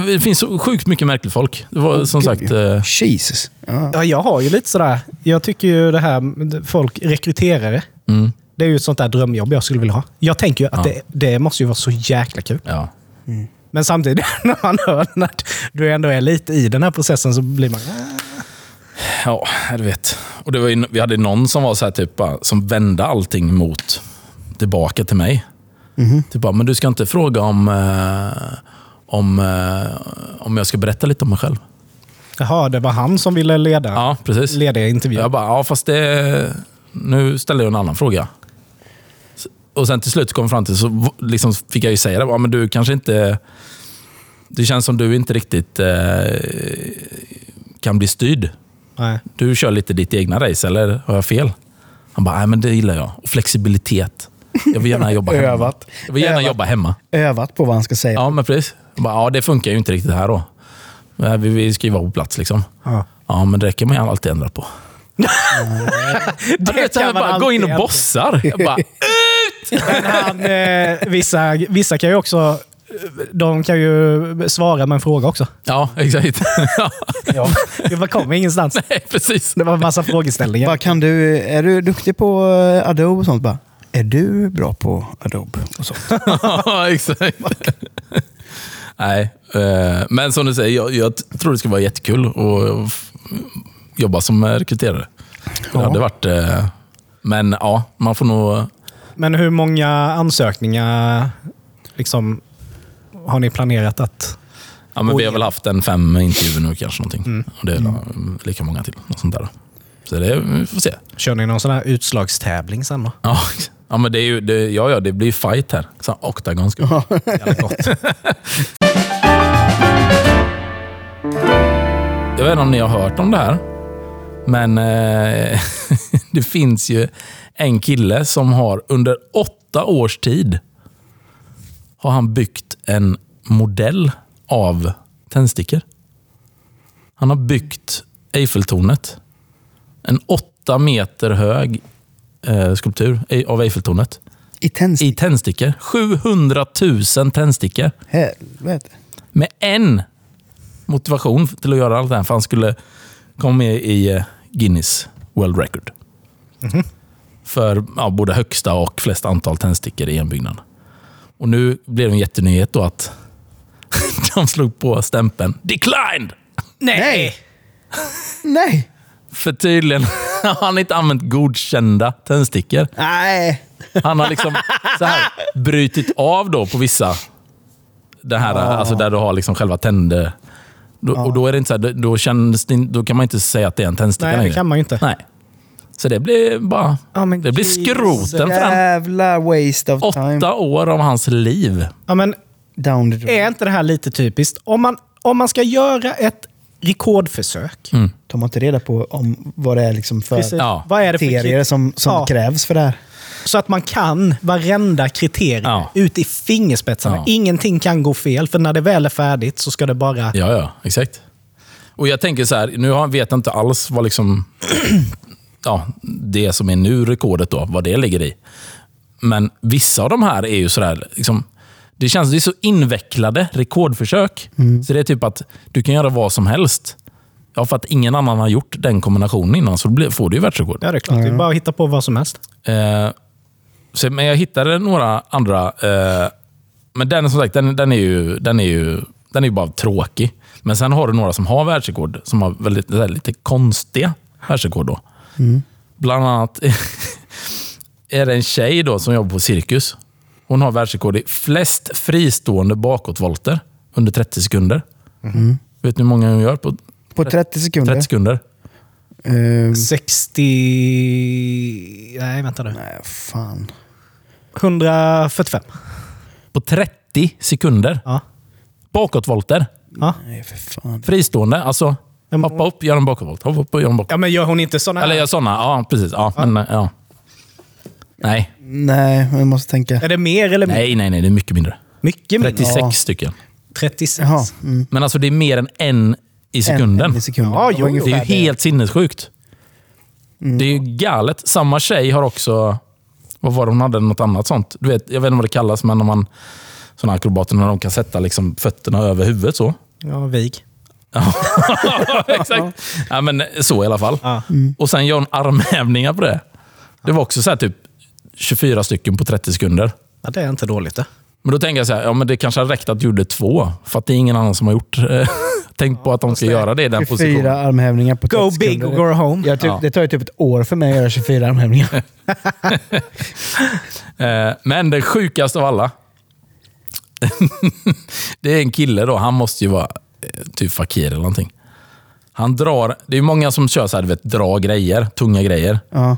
S1: det finns så sjukt mycket märkligt folk. Det var som sagt... eh,
S2: Jesus. Ja.
S3: Ja, jag har ju lite sådär... Jag tycker ju det här med folk, rekryterare.
S1: Mm.
S3: Det är ju ett sånt där drömjobb jag skulle vilja ha. Jag tänker ju att det, det måste ju vara så jäkla kul.
S1: Ja.
S3: Men samtidigt, när man hör att du ändå är lite i den här processen så blir man... "Äh,
S1: Ja, du vet. Och det var ju, vi hade någon som var så här, typ, bara, som vände allting mot tillbaka till mig. Typ bara, men du ska inte fråga om, eh, om, eh, om jag ska berätta lite om mig själv.
S3: Jaha, det var han som ville leda,
S1: Ja, precis.
S3: leda intervjun.
S1: Jag bara, ja fast det... Nu ställer jag en annan fråga. S- Och sen till slut kom jag fram till, så v- liksom fick jag ju säga det, bara, men du kanske inte... Det känns som du inte riktigt eh, kan bli styrd.
S3: Nej.
S1: Du kör lite ditt egna race, eller har jag fel? Han bara, nej men det gillar jag. Och flexibilitet. Jag vill gärna jobba hemma.
S2: Övat.
S1: Jag vill gärna
S2: Övat.
S1: jobba hemma.
S2: Övat på vad han ska säga.
S1: Ja, men precis. Jag bara, ja, det funkar ju inte riktigt här då. Men Vi, vi ska ju vara på plats liksom.
S3: Ja.
S1: Ja, men det kan man ju alltid ändra på. Det vet, jag bara gå in och
S3: alltid-
S1: bossar. Jag bara,
S3: Men han, eh, vissa, vissa kan ju också... De kan ju svara med en fråga också.
S1: ja, exakt. Ja,
S3: Det bara kommer ingenstans.
S1: precis.
S3: Det var en massa frågeställningar.
S2: Bara, kan du, är du duktig på eh, Adobe och sånt? Bara, är du bra på Adobe och sånt?
S1: Ja, exakt. Nej, eh, men som du säger, jag, jag tror det skulle vara jättekul att f- jobba som rekryterare. Det hade varit... eh, Men ja, man får nog...
S3: Men hur många ansökningar liksom, har ni planerat att...
S1: Ja, men vi har väl haft en fem intervjuer nu kanske. Någonting. Och det är mm. lika många till. Och sånt där. Så det, vi får se.
S3: Kör ni någon sån här utslagstävling sen då?
S1: Ja, ja men det är ju... Det, ja, ja, det blir ju fight här. Så Octagon ska
S3: Jävla gott.
S1: Jag vet inte om ni har hört om det här, men eh, det finns ju en kille som har under åtta års tid har han byggt en modell av tändstickor. Han har byggt Eiffeltornet. En åtta meter hög eh, skulptur i- av Eiffeltornet.
S2: I Tensta?
S1: I tändstickor. 700 000 tändstickor
S2: Helvete.
S1: med en motivation till att göra allt det här. För han skulle komma med i eh, Guinness World Record. För ja, både högsta och flest antal tändstickor i en byggnad. Och nu blev det en jättenyhet då att de slog på stämpeln “Declined!”
S3: Nej!
S2: Nej!
S1: För tydligen har han inte använt godkända tändstickor.
S2: Nej!
S1: Han har liksom så här, brytit av då på vissa. Det här, alltså där du har liksom själva tänder. Då, Och då är det inte så här, då- då, känns det, in- då kan man inte säga att det är en tändsticka
S3: Nej, det
S1: längre.
S3: kan man ju inte.
S1: Nej. Så det blir bara...
S3: Ja, men
S1: det blir
S3: Jesus. Äh,
S1: skroten för den.
S2: Jävla waste of time.
S1: Åtta år av hans liv.
S3: Ja, men
S2: Down the road.
S3: är inte det här lite typiskt? Om man, om man ska göra ett rekordförsök.
S2: Tar man inte reda på om vad det är liksom för
S3: Precis.
S1: Ja.
S3: Vad är det för
S2: kriterier
S3: kriterier?
S2: som, som
S3: Ja.
S2: krävs för det här?
S3: Så att man kan varenda kriterium
S1: Ja.
S3: ut i fingerspetsarna.
S1: Ja.
S3: Ingenting kan gå fel, för när det väl är färdigt så ska det bara...
S1: Ja, ja, exakt. Och jag tänker så här, nu har- vet jag inte alls vad liksom, ja, det som är nu rekordet då, vad det ligger i. Men vissa av de här är ju sådär, liksom, det känns det är så invecklade rekordförsök. Så det är typ att du kan göra vad som helst. Ja, för att ingen annan har gjort den kombinationen innan, så blir- får du ju världsrekord.
S3: Ja, det är klart. Det är bara att hitta på vad som helst.
S1: Eh, så, men jag hittade några andra. Eh, men den som sagt, den, den är ju, den är ju, den är ju bara tråkig. Men sen har du några som har världsrekord, som har väldigt, så här, lite konstiga världsrekord. Då. Bland annat är det en tjej då som jobbar på Cirkus. Hon har världsrekord i flest fristående bakåtvolter under 30 sekunder. Vet ni hur många hon gör på
S2: På 30 sekunder?
S1: 30 sekunder?
S2: Ehm,
S3: 60... Nej, vänta nu.
S2: nej, fan.
S3: 145.
S1: På 30 sekunder?
S3: Ja.
S1: Bakåtvolter?
S3: Ja.
S2: Nej, för fan.
S1: Fristående, alltså
S3: men-
S1: hoppa upp, gör en bakåtvolt. Hoppa upp och gör en bakåtvolt.
S3: ja, men gör hon inte såna här?
S1: Eller gör sådana, ja precis. Ja, Men, eh, ja. Nej.
S2: Nej, jag måste tänka.
S3: Är det mer eller mindre?
S1: nej, nej, nej, det är mycket mindre.
S3: Mycket mindre.
S1: 36
S2: Ja.
S1: stycken.
S3: 36.
S2: Jaha. Mm.
S1: Men alltså det är mer än en i sekunden.
S2: En, en i sekunden.
S3: Ja, jo,
S1: det är ju
S2: ungefär
S1: helt sinnessjukt. Det är ju galet. Samma tjej har också... Vad var det hon hade? Något annat sånt. Du vet, jag vet inte vad det kallas, men när man... Sådana akrobater, när de kan sätta liksom fötterna över huvudet så.
S3: Ja, vig.
S1: Ja, exakt. Ja, men så i alla fall.
S3: Ja.
S1: Och sen gör hon armhävningar på det. Det var också så här typ 24 stycken på 30 sekunder.
S3: Ja, det är inte dåligt det.
S1: Men då tänker jag så här, ja, men det kanske har räckt att du gjorde två. För att det är ingen annan som har gjort. eh, Tänk på att de ska göra det i den
S2: 24
S1: positionen.
S2: armhävningar på 30
S3: Go
S2: sekunder.
S3: big or go home.
S2: Jag typ,
S1: Ja.
S2: Det tar ju typ ett år för mig att göra 24 armhävningar.
S1: Eh, Men den sjukaste av alla. det är en kille då. Han måste ju vara eh, typ fakir eller någonting. Han drar, det är ju många som kör så här, du vet, dra grejer, tunga grejer.
S2: ja.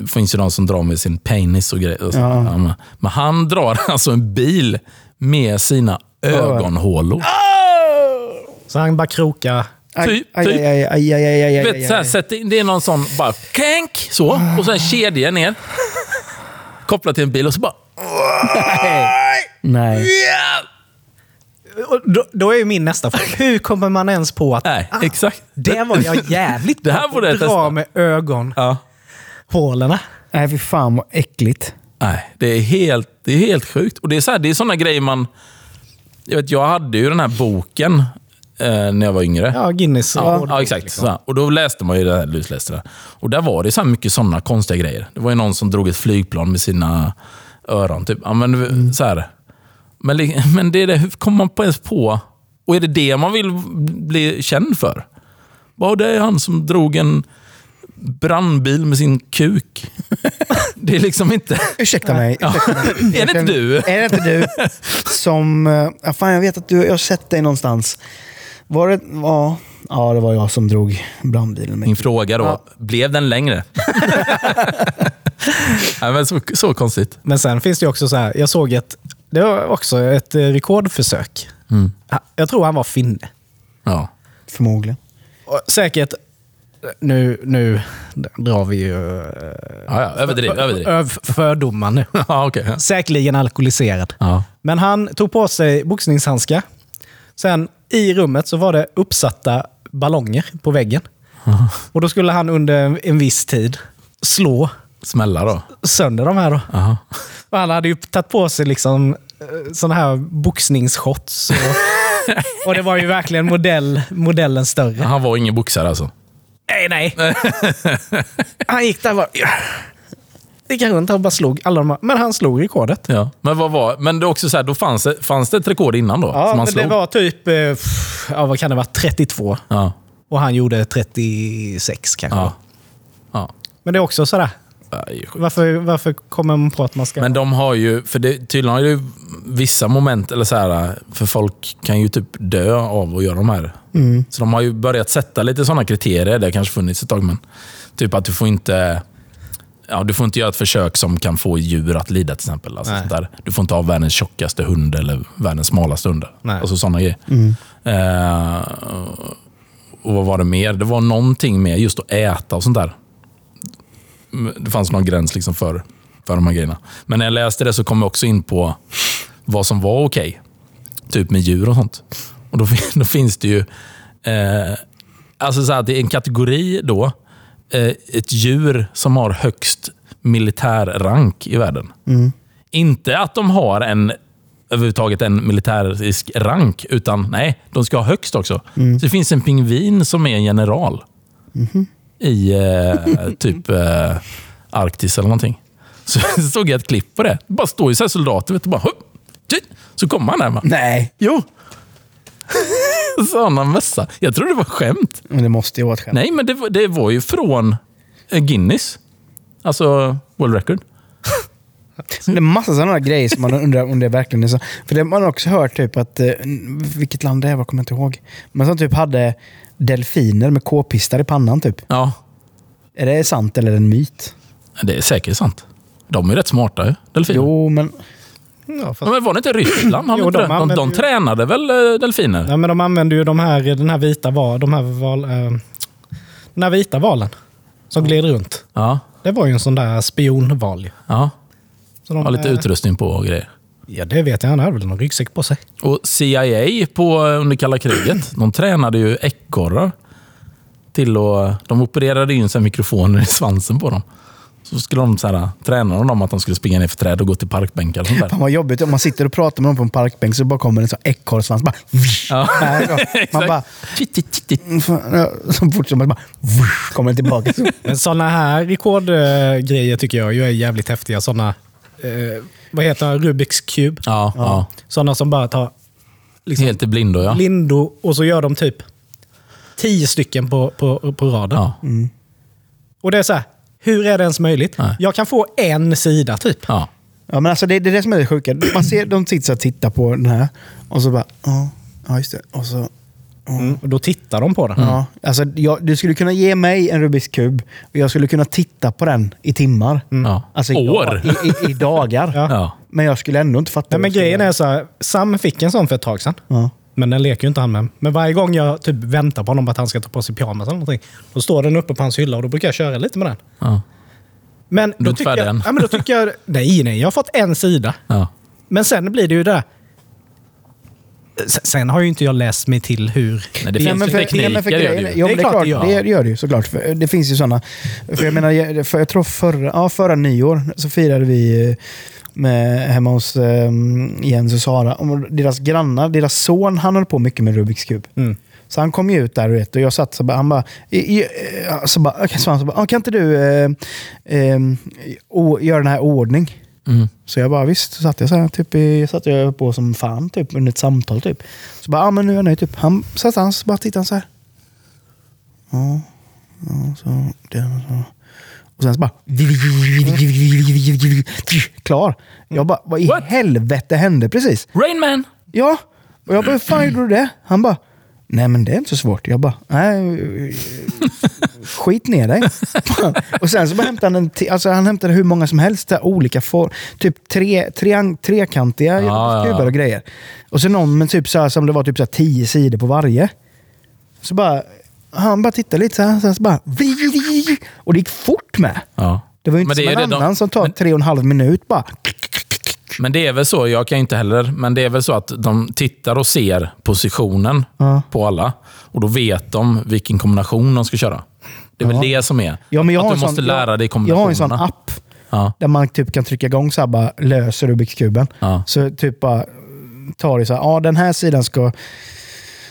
S1: Det finns ju de som drar med sin penis och grejer. och så.
S2: Ja.
S1: Ja, men- Men han drar alltså en bil med sina ögonhålor.
S3: Så han bara krokar.
S2: Aj,
S1: Typ,
S2: aj,
S1: typ.
S2: aj, aj, aj, aj, aj, aj,
S1: Du
S2: aj,
S1: vet, så här,
S2: aj.
S1: sätt in, det är någon sån bara känk, så, och sen kedja ner. Kopplat till en bil och så bara...
S2: Nej.
S1: ja!
S3: Och Då, då är ju min nästa fråga. Hur kommer man ens på att
S1: Nej, exakt.
S3: Ah, det var jag jävligt
S1: Det här
S3: på
S1: borde jag
S3: att dra
S1: testa.
S3: med
S1: Ja.
S3: ögonhålorna?
S2: Nej, fy fan vad äckligt.
S1: Nej, det är helt, det är helt sjukt. Och Det är så här, det är såna grejer man... Jag, vet, jag hade ju den här boken eh, när jag var yngre.
S3: Ja, Guinness
S1: Ja,
S3: rekord.
S1: ja exakt. Så här. Och då läste man ju det här, lusläste det. Och där var det så här mycket sådana konstiga grejer. Det var ju någon som drog ett flygplan med sina öron. Typ. Ja, men, så här. Men, li- men det är det, hur kommer man på ens på... Och är det det man vill bli känd för? Bara, det är han som drog en brandbil med sin kuk. Det är liksom inte...
S2: Ursäkta mig. Ursäkta mig.
S1: Är det inte du?
S2: Är det inte du som... eh, Ja, fan, jag vet att du, jag har sett dig någonstans. Var det... Ja, ja det var jag som drog brandbilen.
S1: Min
S2: Med.
S1: fråga då, blev den längre? Nej, men så, så konstigt.
S3: Men sen finns det ju också så här, jag såg ett, det var också ett eh, rekordförsök.
S1: Mm.
S3: Ja, Jag tror han var finne.
S1: Ja.
S2: Förmodligen.
S3: Och säkert, nu, nu drar vi ju eh,
S1: Ja, ja, överdriv. överdriv.
S3: öv- fördomar nu.
S1: Ja, okej. Ja.
S3: Säkerligen alkoholiserad.
S1: Ja.
S3: Men han tog på sig boxningshandskar. Sen i rummet så var det uppsatta ballonger på väggen. Och då skulle han under en viss tid slå
S1: Smälla då.
S3: sönder de här. Då.
S1: Aha.
S3: Och han hade ju tagit på sig liksom eh, sådana här boxningsshots. Och, och det var ju verkligen modell, modellen större.
S1: Han var ingen boxare alltså.
S3: Nej, nej. Han gick där och bara... Gick han runt och bara slog alla de här. Men han slog rekordet.
S1: Ja. Men vad var... Men det är också så här, då fanns det, fanns det ett rekord innan då?
S3: Ja,
S1: som han
S3: men det
S1: slog?
S3: var typ... eh, pff, Ja, vad kan det vara? 32.
S1: Ja.
S3: Och han gjorde 36 kanske.
S1: Ja. ja.
S3: Men det är också sådär.
S1: Ja, det är ju sjukt.
S3: Varför, varför kommer man på att man ska...
S1: Men de har ju... För det, tydligen har ju vissa moment, eller så här, för folk kan ju typ dö av att göra de här.
S3: Mm.
S1: Så de har ju börjat sätta lite sådana kriterier. Det har kanske funnits ett tag, men typ att du får inte... Ja, du får inte göra ett försök som kan få djur att lida till exempel. Alltså,
S3: Nej.
S1: sånt där. Du får inte ha världens tjockaste hund eller världens smalaste hund.
S3: Nej.
S1: Alltså sådana grejer. Eh, och vad var det mer? Det var någonting med just att äta och sånt där. Det fanns någon gräns liksom för, för de här grejerna. Men när jag läste det så kom jag också in på vad som var okej. Typ med djur och sånt. Och Då, fin- då finns det ju... Eh, alltså så här, det är en kategori då. Eh, ett djur som har högst militär rank i världen. Inte att de har en överhuvudtaget en militärisk rank, utan nej, de ska ha högst också. Så det finns en pingvin som är en general i eh, typ eh, Arktis eller någonting. Så såg jag ett klipp på det. Det bara står ju så här soldater vet du, bara, hupp, tji, så kommer han där. va.
S2: Nej,
S1: Jo! Såna mössa. Jag tror det var skämt.
S2: men det måste ju vara ett skämt.
S1: Nej, men det, var- det var ju från eh, Guinness. Alltså World Record.
S2: Det är massa sådana där grejer som man undrar om det verkligen är så. För det har man också hört typ att, eh, vilket land det är, vad kommer jag inte ihåg. Men som typ hade delfiner med k-pistar i pannan typ.
S1: Ja,
S2: Är det sant eller är det en myt?
S1: det är säkert sant. De är ju rätt smarta ju, delfiner.
S2: Jo, men...
S3: Ja, fast...
S1: Ja, Men var det inte Ryssland? Han
S3: Jo,
S1: inte
S3: de
S1: det? de, de,
S3: använder ju-
S1: tränade väl eh, delfiner?
S3: Ja, men de använder ju de här, den här vita val, de här val, eh, den här vita valen som glider runt.
S1: Ja.
S3: Det var ju en sån där spionval. ju.
S1: ja.
S3: Så de,
S1: Har lite
S3: eh,
S1: utrustning på och grejer.
S3: Ja, det vet jag. Han hade väl någon ryggsäck på sig.
S1: Och CIA på, eh, under kalla kriget, de tränade ju ekorrar. Till att, eh, de opererade in så här mikrofoner i svansen på dem. Så skulle de så här, eh, träna dem om att de skulle springa ner för träd och gå till parkbänkar och sånt där.
S2: Fan vad jobbigt om man sitter och pratar med någon på en parkbänk så bara kommer en sån ekorrsvans. Bara,
S1: Ja.
S2: Nej, så. Man
S1: Exakt.
S2: bara...
S1: Titt, titt, titt, titt.
S2: mm, fan, ja, Så fort som man bara... vush, Kommer den tillbaka. Så,
S3: Men sådana här rekordgrejer tycker jag ju är jävligt häftiga. Sådana, eh, vad heter det, Rubiks kub.
S1: Ja, ja.
S3: Sådana som bara tar Liksom-
S1: Helt i blindo ja.
S3: lindo och så gör de typ tio stycken på, på, på raden.
S1: Ja.
S3: Och det är så här, hur är det ens möjligt?
S1: Nej.
S3: Jag kan få en sida typ.
S1: ja.
S2: ja, men alltså det, det är det som är det sjuka. Man ser de sitter så här och tittar på den här och så bara... Ja, ja just det. Och så...
S3: Mm. Och då tittar de på den.
S2: Ja, alltså, jag, du skulle kunna ge mig en Rubiks kub och jag skulle kunna titta på den i timmar.
S1: Ja.
S2: Alltså i,
S1: År.
S2: dag- I, i, i dagar.
S3: Ja.
S1: Ja.
S2: Men jag skulle ändå inte fatta.
S3: Nej,
S2: vad
S3: men
S2: jag skulle
S3: grejen
S2: göra.
S3: är så här, Sam fick en sån för ett tag sedan.
S2: Ja.
S3: Men den leker ju inte han med. Men varje gång jag typ väntar på honom att han ska ta på sig pyjamas eller någonting, då står den uppe på hans hylla och då brukar jag köra lite med den.
S1: Ja.
S3: Men
S1: är
S3: då,
S1: inte
S3: tycker
S1: färdig
S3: jag,
S1: än.
S3: ja, men då tycker jag... Nej, nej. Jag har fått en sida.
S1: Ja.
S3: Men sen blir det ju det där. s- Sen har ju inte jag läst mig till hur...
S1: Nej, det
S3: vi-
S1: finns
S2: men
S1: ju
S2: för,
S1: tekniker,
S2: nej, men för
S1: det gör
S2: grejen,
S1: det ju.
S2: jo,
S3: Det
S2: men
S3: är
S2: det är klart, det gör det, gör det ju såklart. För det finns ju sådana. För jag menar, jag- för jag tror förra, ja, förra nyår så firade vi eh, med, hemma hos eh, Jens och Sara. Och deras grannar, deras son, han höll på mycket med Rubiks kub.
S3: Mm.
S2: Så han kom ju ut där vet, du, och jag satt så bara, han bara, i, i, eh, så bara, okay, så han så bara, "Ah, kan inte du eh, eh, o, göra den här ordning?
S1: Mm.
S2: Så jag bara visst, så satt jag så här, typ, i- jag satt jag på som fan typ, under ett samtal. Typ. Så bara, ja ah, men nu är jag nöjd. Typ. Han satt han så bara tittade han så här. Ja, ja så, det, så. Och sen så bara... Klar. Jag bara, vad i
S1: What?
S2: helvete hände precis?
S1: Rain Man!
S2: Ja. Och jag bara, hur fan gjorde du det? Han bara, nej men det är inte så svårt. Jag bara, nej. eh, Skit ner dig. och sen så bara hämtade han en ti- alltså han hämtade hur många som helst, där, olika form, typ tre, triang, trekantiga
S1: Ja,
S2: kuber
S1: ja.
S2: och grejer. Och så någon med typ så här, som det var typ så här tio sidor på varje. Så bara, han bara tittade lite så här, sen så bara, och det gick fort med.
S1: Ja.
S2: Det var ju inte
S1: Men det är
S2: som
S1: ju
S2: en
S1: det de-
S2: annan som tar
S1: men-
S2: tre och en halv minut bara.
S1: Men det är väl så, jag kan ju inte heller, men det är väl så att de tittar och ser positionen
S2: Ja.
S1: på alla. Och då vet de vilken kombination de ska köra. Det är väl det som är.
S2: Ja, men jag
S1: att
S2: har
S1: du
S2: en
S1: måste
S2: sån,
S1: lära dig
S2: jag, jag har en sån
S1: kombinationerna.
S2: app
S1: Ja.
S2: där man typ kan trycka igång så här bara löser Rubiks kuben.
S1: Ja.
S2: Så typ bara tar det så här, ja den här sidan ska...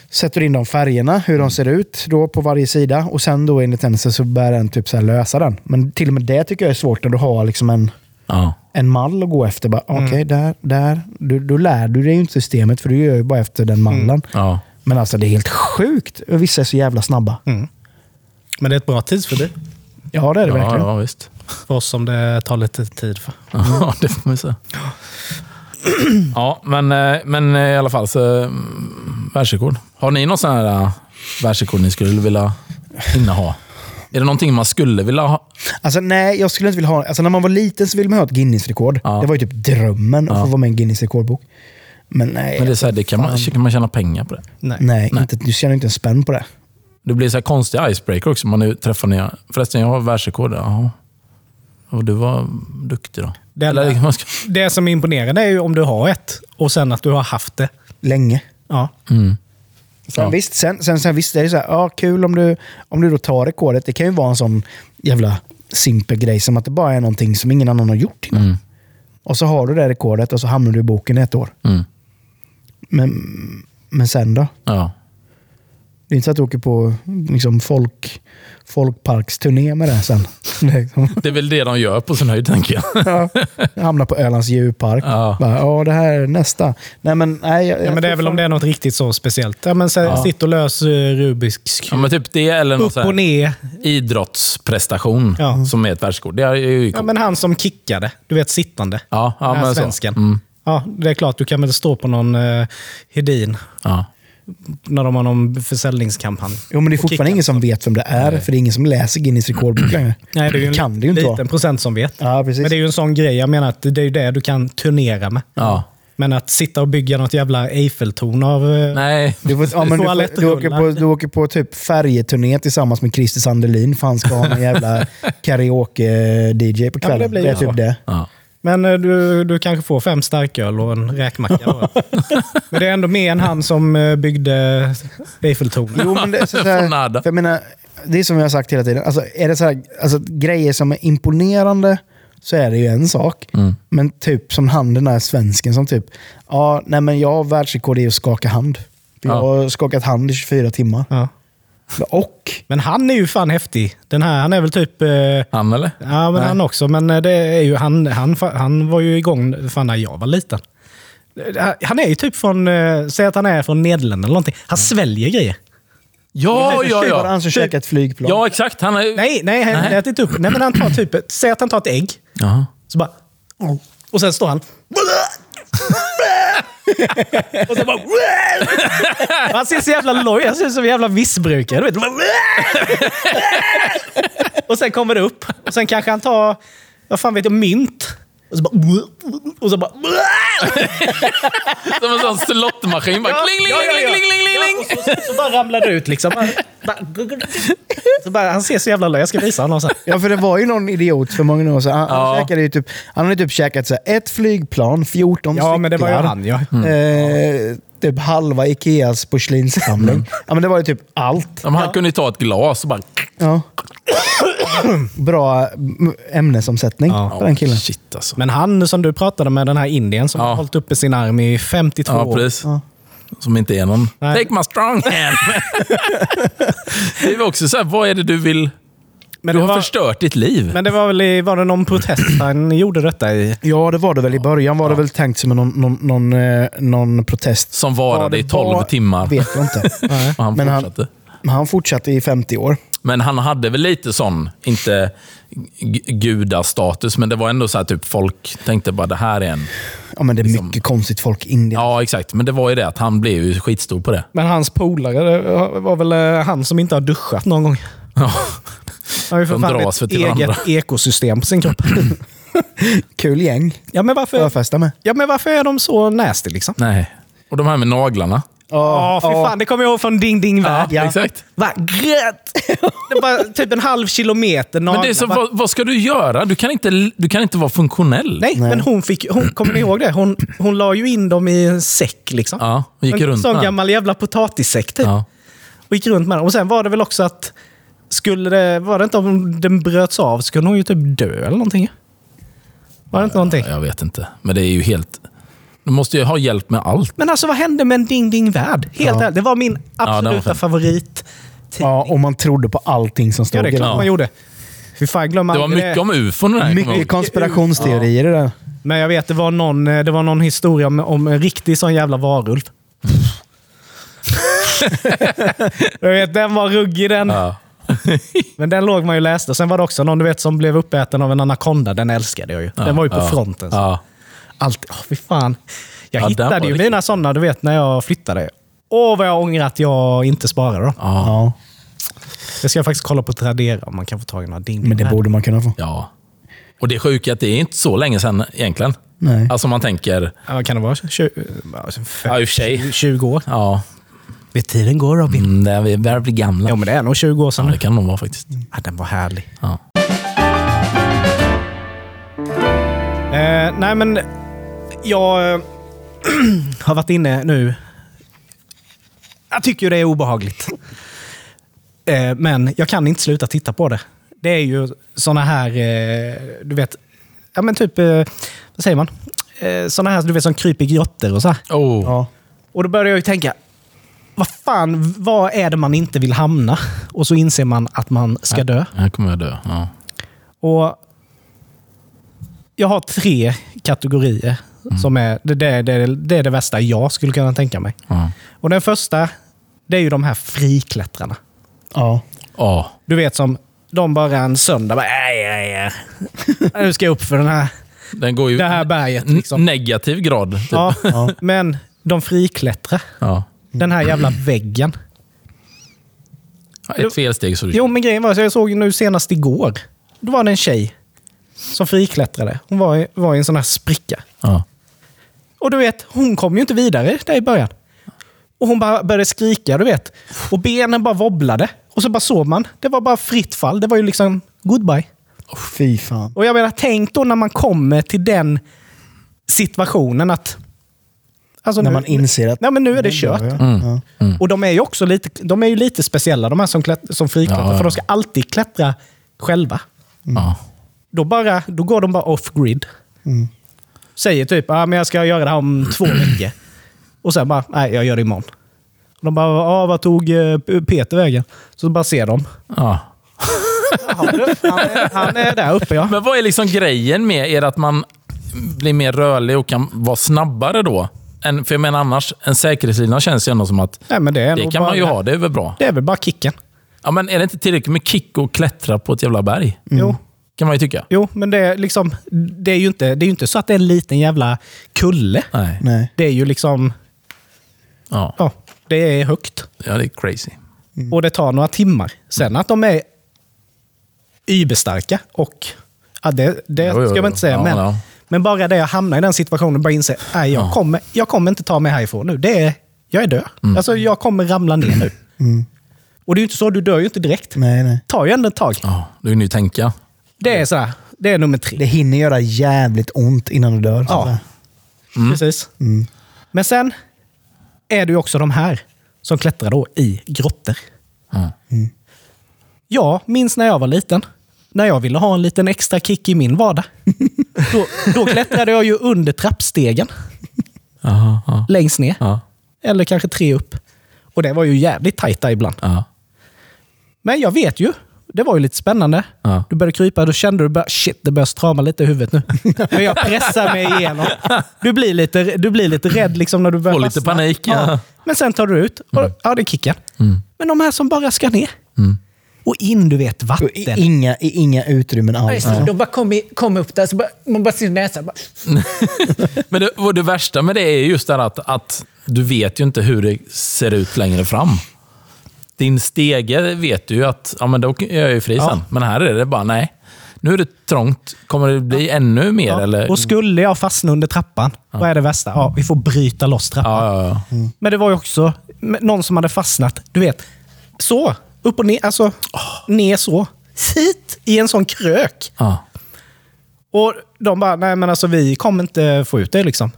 S2: Sätter in de färgerna, hur de ser ut då på varje sida. Och sen då enligt henne så- så bär den typ så här lösa den. Men till och med det tycker jag är svårt när du har liksom en,
S1: Ja.
S2: en mall att gå efter. Bara,
S1: Mm.
S2: Okej, där, där. Du, då lär du dig ju inte systemet för du gör ju bara efter den mallen.
S1: Ja.
S2: Men alltså det är helt sjukt. Vissa är så jävla snabba.
S1: Mm.
S3: Men det är ett bra tidsfördriv
S2: Ja, det är det
S1: Ja,
S2: verkligen. Mm.
S1: ja, visst.
S3: för oss som det tar lite tid för.
S1: Ja, det får man ju säga. Ja, men, eh, men eh, i alla fall så... mm, Världsrekord. Har ni någon sån här eh, världsrekord ni skulle vilja inneha? Är det någonting man skulle vilja ha?
S2: Alltså nej, jag skulle inte vilja ha... Alltså när man var liten så ville man ha ett Guinness-rekord.
S1: Ja.
S2: Det var ju typ drömmen att få vara med i en Guinness-rekordbok. Men nej.
S1: Men det, är så här, det kan, man, kan man tjäna pengar på det?
S3: Nej.
S2: Nej, Inte, du känner inte en spänn på det.
S1: Det blir så här konstiga icebreaker också. Man nu träffar nya. Förresten, jag har världsrekord. där. Jaha. Och du var duktig då.
S3: Det enda-
S1: Eller, man ska-
S3: Det som är imponerande är ju om du har ett och sen att du har haft det.
S2: Länge.
S3: Ja.
S2: Sen, visst, sen, sen, sen visst, det är så här, ja, kul om du, om du då tar rekordet. Det kan ju vara en sån jävla simpel grej som att det bara är någonting som ingen annan har gjort innan.
S1: Mm.
S2: Och så har du det rekordet och så hamnar du i boken i ett år.
S1: Mm.
S2: Men, men sen då?
S1: ja.
S2: Det är inte så att du åker på liksom, folk, folkparksturné med det sen. Liksom.
S1: Det är väl det de gör på sin höjd, tänker jag.
S2: Ja. Hamnar på Ölands djurpark.
S1: Ja.
S2: Bara, ja, det här är nästa. Nej, men, nej, jag-
S3: Ja, men det är väl om det är något riktigt så speciellt. Ja, men sen,
S1: Ja.
S3: Sitt och lös eh, Rubiks
S1: Ja,
S3: kub.
S1: men typ det eller någon
S3: Upp
S1: så här
S3: och ner.
S1: idrottsprestation
S3: Ja.
S1: som är ett världsrekord. Det är ju
S3: Ja,
S1: coolt.
S3: men han som kickade, du vet sittande.
S1: Ja, ja,
S3: Den här
S1: men så.
S3: svensken.
S1: Mm.
S3: Ja, det är klart, du kan väl stå på någon eh, Hedin
S1: Ja.
S3: när de har någon försäljningskampanj.
S2: Jo, men det är
S3: kicka.
S2: fortfarande ingen som vet vem det är, för det är ingen som läser Guinness rekordbok längre.
S3: Nej, det är ju en
S2: kan det ju inte
S3: liten
S2: vara.
S3: procent som vet.
S2: Ja, precis.
S3: Men det är ju en sån grej, jag menar att det är ju det du kan turnera med.
S1: ja.
S3: Men att sitta och bygga något jävla Eiffeltorn av... eh,
S1: Nej.
S2: Du, får, ja, men du,
S3: Får alla
S2: får,
S3: ett
S2: du, åker
S3: rullar.
S2: på, du åker på typ färjeturné tillsammans med Christer Sandelin, för han ska ha en jävla karaoke-DJ på
S3: Ja,
S2: kvällen.
S3: men det blir
S2: det, är
S3: ju så.
S2: typ det.
S1: Ja.
S3: Men eh, du, du kanske får fem starköl och en räkmacka. då. Men det är ändå mer än han som eh, byggde Eiffeltornet.
S2: Jo, men det, är så så
S1: Från
S2: här,
S1: nada.
S2: för jag menar, det är som jag har sagt hela tiden. Alltså, är det så här, alltså, grejer som är imponerande så är det ju en sak.
S1: Mm.
S2: Men typ som han den där svensken som typ, ja, nej men jag har världsrekord i att skaka hand. Jag
S1: Ja.
S2: har skakat hand i 24 timmar.
S3: Ja.
S2: Och,
S3: Men han är ju fan häftig. Den här, han är väl typ... eh,
S1: Han eller?
S3: Ja, men han också. Men eh, det är ju, han, han, fa- han var ju igång fan när jag var liten. Eh, Han är ju typ från... eh, Säg att han är från Nederländerna eller någonting. Han sväljer grejer.
S1: Ja, ja,
S2: var det
S1: ja.
S2: han som käkade ett flygplan?
S1: Ja, exakt. Han är...
S3: Nej, nej, han
S1: Nej.
S3: äter inte upp. Nej, men han tar typ... ett- Säg att han tar ett ägg.
S1: Jaha.
S3: Så bara... Och sen står han...
S1: Och så bara...
S3: Han ser så jävla loj Han ser ut som en jävla missbrukare. Du vet. Och sen kommer det upp. Och sen kanske han tar... Vad fan vet jag? Mynt. Och så bara... Och så bara...
S1: Som en sån slottmaskin. Bara kling, kling, kling, kling, kling, kling, kling.
S3: Ja, och så, så bara ramlar det ut liksom. Bara, bara, så bara, han ser så jävla löj Jag ska visa honom sen.
S2: Ja, för det var ju någon idiot för många år sedan. Han,
S1: Ja.
S2: han, käkade ju typ, han hade typ käkat så här, ett flygplan, 14
S3: Ja, men det var ju
S2: cyklar,
S3: han, ja.
S2: eh, typ halva Ikeas porslinssamling.
S1: Mm.
S2: Ja, men det var ju typ allt.
S1: Men han kunde ju ta ett glas och bara...
S2: Ja.
S3: eh,
S2: Bra m- ämnesomsättning
S3: Ja.
S2: på den killen.
S1: Shit alltså.
S3: Men han som du pratade med, den här indien som
S1: Ja.
S3: har hållit uppe sin arm i 52
S1: Ja,
S3: år.
S1: precis. Som inte är någon.
S3: Nej.
S1: Take my strong hand. det var också så här, vad är det du vill...
S3: Men
S1: du
S3: det
S1: har
S3: var-
S1: förstört ditt liv.
S3: Men det var väl i, var det någon protest han gjorde detta i?
S2: Ja, det var det väl i början. Var det väl tänkt som någon, någon, någon, eh, någon protest.
S1: som varade
S2: Ja, det
S1: i 12
S2: var-
S1: timmar.
S2: Vet jag inte. Nej.
S1: Och han
S2: Men han-
S1: fortsatte.
S2: Men han fortsatte i 50 år.
S1: Men han hade väl lite sån, inte g- gudastatus, men det var ändå så här typ folk tänkte bara det här är en...
S2: Ja, men det är mycket konstigt folk i Indien.
S1: Liksom- Ja, exakt. Men det var ju det att han blev ju skitstor på det.
S3: Men hans polare, det var väl eh, han som inte har duschat någon gång.
S1: Ja.
S3: Han har ju för
S1: De
S3: fan
S1: dras
S3: ett
S1: väl till varandra.
S3: eget ekosystem på sin kropp.
S2: Kul gäng.
S3: Ja men, varför,
S2: Förfesta med.
S3: ja, men varför är de så nasty liksom?
S1: Nej. Och de här med naglarna.
S3: Ja, fy fan. Det kommer jag ihåg från Ding Ding Värld.
S2: Ja.
S1: Exakt.
S3: Va? Gröt! Det var typ en halv kilometer
S1: Men
S3: naglar.
S1: det är så,
S3: Va?
S1: vad, vad ska du göra? Du kan inte, du kan inte vara funktionell.
S3: Nej, men hon fick... Hon, kommer ni ihåg det? Hon, hon la ju in dem i en säck liksom.
S1: Ja, och gick
S3: en
S1: runt med
S3: sån
S1: den.
S3: gammal jävla potatissäck typ.
S1: Ja.
S3: Och gick runt med den. Och sen var det väl också att... Skulle det, var det inte om den bröts av så kunde hon ju typ dö eller någonting? Var det inte någonting?
S1: Ja, Jag vet inte. Men det är ju helt... Du måste ju ha hjälp med allt.
S3: Men alltså vad hände med en Ding Ding Värld? Helt ärligt, det var min
S1: var
S3: absoluta
S1: fint.
S3: favorit.
S2: Ja, och man trodde på allting som
S3: Ja,
S2: stod
S3: det är
S2: i
S3: klart
S2: den.
S3: man gjorde. Hur fan glömmer
S1: Det var
S3: aldrig
S1: mycket
S3: det?
S1: om ufon. Där, kommer jag
S2: Mycket
S1: ihåg.
S2: konspirationsteorier i det där.
S3: Men jag vet, det var någon, eh, det var någon historia om, om en riktig sån jävla varulv. jag vet, den var ruggig den.
S1: Ja.
S3: Men den låg man ju och läste. Sen var det också någon du vet som blev uppäten av en anakonda. Den älskade jag ju. Den var ju på alltså.
S1: ja.
S3: fronten. så.
S1: Ja.
S3: Allt, åh, fy fan. Jag
S1: Ja, den var
S3: hittade ju
S1: riktigt.
S3: mina sådana, du vet, när jag flyttade. Åh, vad jag ångrar att jag inte sparade dem.
S1: Ja.
S2: Ja,
S3: Jag ska faktiskt kolla på Tradera om man kan få tag i några ding
S2: men det borde man kunna få.
S1: ja. Och det sjuka är att det är inte så länge sedan egentligen.
S2: Nej.
S1: Alltså man tänker...
S3: Ja, vad kan det vara? 20,
S1: Ja, i och för sig.
S3: 20 år?
S1: Ja,
S3: Vet tiden går Robin.
S1: mm, det, vi börjar bli gamla.
S3: Jo, men det är nog 20 år sedan
S1: Ja,
S3: nu.
S1: det kan nog vara faktiskt.
S3: Ja, den var härlig.
S1: Ja.
S3: Eh, nej, men jag eh, har varit inne nu. Jag tycker ju det är obehagligt. Eh, men jag kan inte sluta titta på det. Det är ju såna här, eh, du vet, ja men typ, eh, vad säger man? Eh, såna här du vet, som kryper i grottor och så här.
S1: Oh.
S2: Ja.
S3: Och då började jag ju tänka, vad fan, vad är det man inte vill hamna? Och så inser man att man ska dö.
S1: Här kommer jag dö. Ja.
S3: Och jag har tre kategorier. Som är, det, det, det, det är det värsta jag skulle kunna tänka mig.
S1: Ja.
S3: Och Den första, det är ju de här friklättrarna.
S2: Ja.
S1: Ja.
S3: Du vet som de bara en söndag bara, aj, aj, aj. nu ska jag upp för den här,
S1: Den går ju...
S3: det här berget.
S1: n-
S3: Liksom.
S1: Negativ grad. Mm. Typ. Ja.
S3: Ja, men de friklättrar. Den här jävla väggen.
S1: Ett felsteg så du...
S3: Jo, men grejen var så jag såg ju nu senast igår. Då var det en tjej som friklättrade. Hon var i, var i en sån här spricka.
S1: Ja.
S3: Och du vet, hon kom ju inte vidare där i början. Och hon bara började skrika, du vet. Och benen bara wobblade. Och så bara såg man. Det var bara fritt fall. Det var ju liksom goodbye.
S2: Fy fan.
S3: Och jag menar, tänk då när man kommer till den situationen att... Alltså
S2: När
S3: nu-
S2: man inser att...
S3: Nej, men nu är det
S2: Ja,
S3: kört.
S2: ja. Ja.
S1: Mm.
S3: Och de är ju också lite, de är ju lite speciella, de här som, klätt, som friklättrar.
S1: Ja, ja.
S3: För de ska alltid klättra själva.
S1: Ja.
S3: Då, bara, då går de bara off-grid. Säger typ ah, men jag ska göra det här om två veckor. Och sen bara, nej jag gör det imorgon. Och de bara, ah, vad tog eh, P- Peter vägen? Så bara ser de.
S1: Ja.
S3: "Jaha, du, Han är, han är där uppe ja.
S1: Men vad är liksom grejen med er att man blir mer rörlig och kan vara snabbare då? Än, för jag menar annars, en säkerhetslina känns ju ändå som att
S3: Nej, men det är
S1: det
S3: nog
S1: kan man ju
S3: bara-
S1: ha, det är väl bra.
S3: Det är väl bara kicken.
S1: Ja, men är det inte tillräckligt med kick och klättra på ett jävla berg?
S3: Mm. Jo,
S1: Kan man ju tycka.
S3: jo, men det är, liksom, det, är ju inte, det är ju inte så att det är en liten jävla kulle.
S1: Nej.
S2: Nej.
S3: Det är ju liksom,
S1: Ja.
S3: ja, det är högt.
S1: ja, det är crazy. Mm.
S3: Och det tar några timmar. Sen att de är yberstarka och... Ja, det det
S1: Jo, jo,
S3: ska
S1: jo.
S3: man inte säga,
S1: Ja,
S3: men,
S1: ja.
S3: men bara det jag hamnar i den situationen och bara inser nej, jag, kommer, jag kommer inte ta mig härifrån nu. Det är, jag är död.
S1: Mm.
S3: Alltså, jag kommer ramla ner nu. Och det är ju inte så, du dör ju inte direkt.
S2: Nej, nej.
S3: Det tar ju ändå ett tag.
S1: Ja, du hinner ju tänka.
S3: Det är sådär, det är nummer tre.
S2: Det hinner göra
S1: Mm.
S2: jävligt ont innan du dör.
S3: Ja. Precis. Men sen är det ju också de här som klättrar då i grottor.
S1: Ja.
S3: Jag minns när jag var liten. När jag ville ha en liten extra kick i min vardag. Då, då klättrade jag ju under trappstegen.
S1: Aha, ja.
S3: Längst ner.
S1: Ja.
S3: Eller kanske tre upp. Och det var ju jävligt tajta ibland.
S1: Ja.
S3: Men jag vet ju. Det var ju lite spännande.
S1: Ja.
S3: Du började krypa, då kände du bara shit, det börjar strama lite i huvudet nu. Men jag pressar mig igenom. Du blir lite, du blir lite rädd liksom när du börjar
S1: Får lite
S3: fastna.
S1: panik, ja. Mm.
S3: Men sen tar du ut och ja, det kickar. Men de här som bara ska ner. Och in, du vet,
S2: Och
S3: vatten.
S2: i Inga, i inga utrymmen
S4: Ja,
S2: alls.
S4: just det. De bara kom, i, kom upp där, så bara, man bara ser näsan. Bara,
S1: Men det, och det värsta med det är just det här att, att du vet ju inte hur det ser ut längre fram. Din stege vet du ju att ja, men då är jag ju fri sen. Men här är det bara nej. Nu är det trångt. Kommer det bli ännu mer?
S3: Ja.
S1: Eller?
S3: Och skulle jag fastna under trappan, vad är det värsta? Ja, vi får bryta loss trappan.
S1: ja, ja, ja.
S3: Men det var ju också men någon som hade fastnat, du vet, så. Upp och ner, alltså ner så. Hit i en sån krök.
S1: Ja.
S3: Och de bara, nej men alltså vi kommer inte få ut det liksom.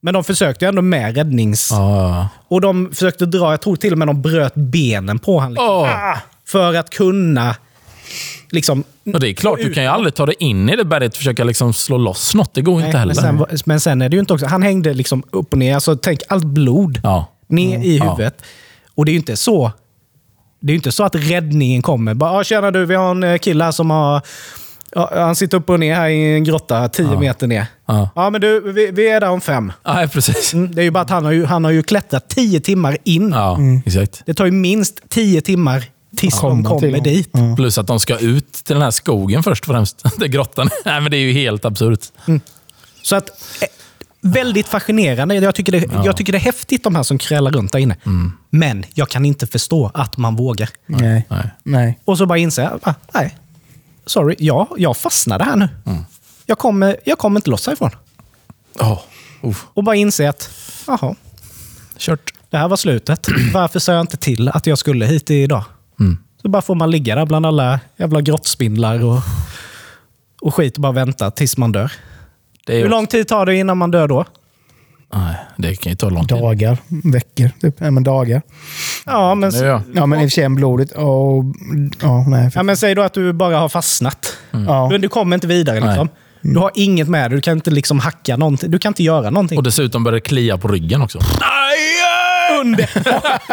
S3: Men de försökte ju ändå med räddnings...
S1: Ja,
S3: Och de försökte dra, jag tror till och med de bröt benen på honom. Liksom,
S1: Åh.
S3: För att kunna liksom...
S1: Och det är klart, du kan ju aldrig ta dig in i det berget och försöka liksom slå loss något. Det går ju inte
S3: Nej, men,
S1: heller.
S3: sen, var- men sen är det ju inte också... Han hängde liksom upp och ner. Alltså, tänk allt blod
S1: Ja.
S3: ner i
S1: Ja.
S3: huvudet. Och det är ju inte så... Det är ju inte så att räddningen kommer. Bara, "Ah, tjena du, vi har en eh, kille här som har... ja, Han sitter upp och ner här i en grotta, tio meter ner.
S1: Ja.
S3: ja, men du, vi, vi är där om fem.
S1: Nej, precis.
S3: Mm, Det är ju bara att han har ju, han har ju klättrat tio timmar in.
S1: Ja,
S3: Mm.
S1: exakt.
S3: Det tar ju minst tio timmar tills de
S2: Komma till
S3: kommer
S2: dem.
S3: dit.
S1: Plus att de ska ut till den här skogen först och främst. Där grottan är. Nej, men det är ju helt absurt.
S3: Så att, eh, väldigt fascinerande. Jag tycker, det, jag tycker det är häftigt de här som krälar runt där inne.
S1: Mm.
S3: Men jag kan inte förstå att man vågar.
S2: Nej.
S1: Nej.
S2: Nej.
S3: Och så bara inser jag, bara, nej, sorry, jag, jag fastnade här nu.
S1: Mm.
S3: Jag, kommer, jag kommer inte loss härifrån.
S1: Oh. Uff.
S3: Och bara inser att, jaha,
S1: Kört.
S3: det här var slutet. Varför sa jag inte till att jag skulle hit idag?
S1: Mm.
S3: Så bara får man ligga där bland alla jävla grottspindlar och, och skit och bara vänta tills man dör.
S1: Det är ju-
S3: Hur lång tid tar det innan man dör då?
S1: Nej, det kan ju ta lång tid.
S2: Dagar, veckor, typ. Nej, men dagar.
S3: Ja, men...
S1: Nu, ja.
S2: Ja, men i och för sig blodigt. Och, ja, nej.
S3: Ja, men säg då att du bara har fastnat.
S2: Ja.
S3: Mm. Men du kommer inte vidare.
S1: Nej.
S3: Liksom. Du har inget med dig. Du kan inte liksom hacka någonting. Du kan inte göra någonting.
S1: Och dessutom börjar det klia på ryggen också.
S3: under,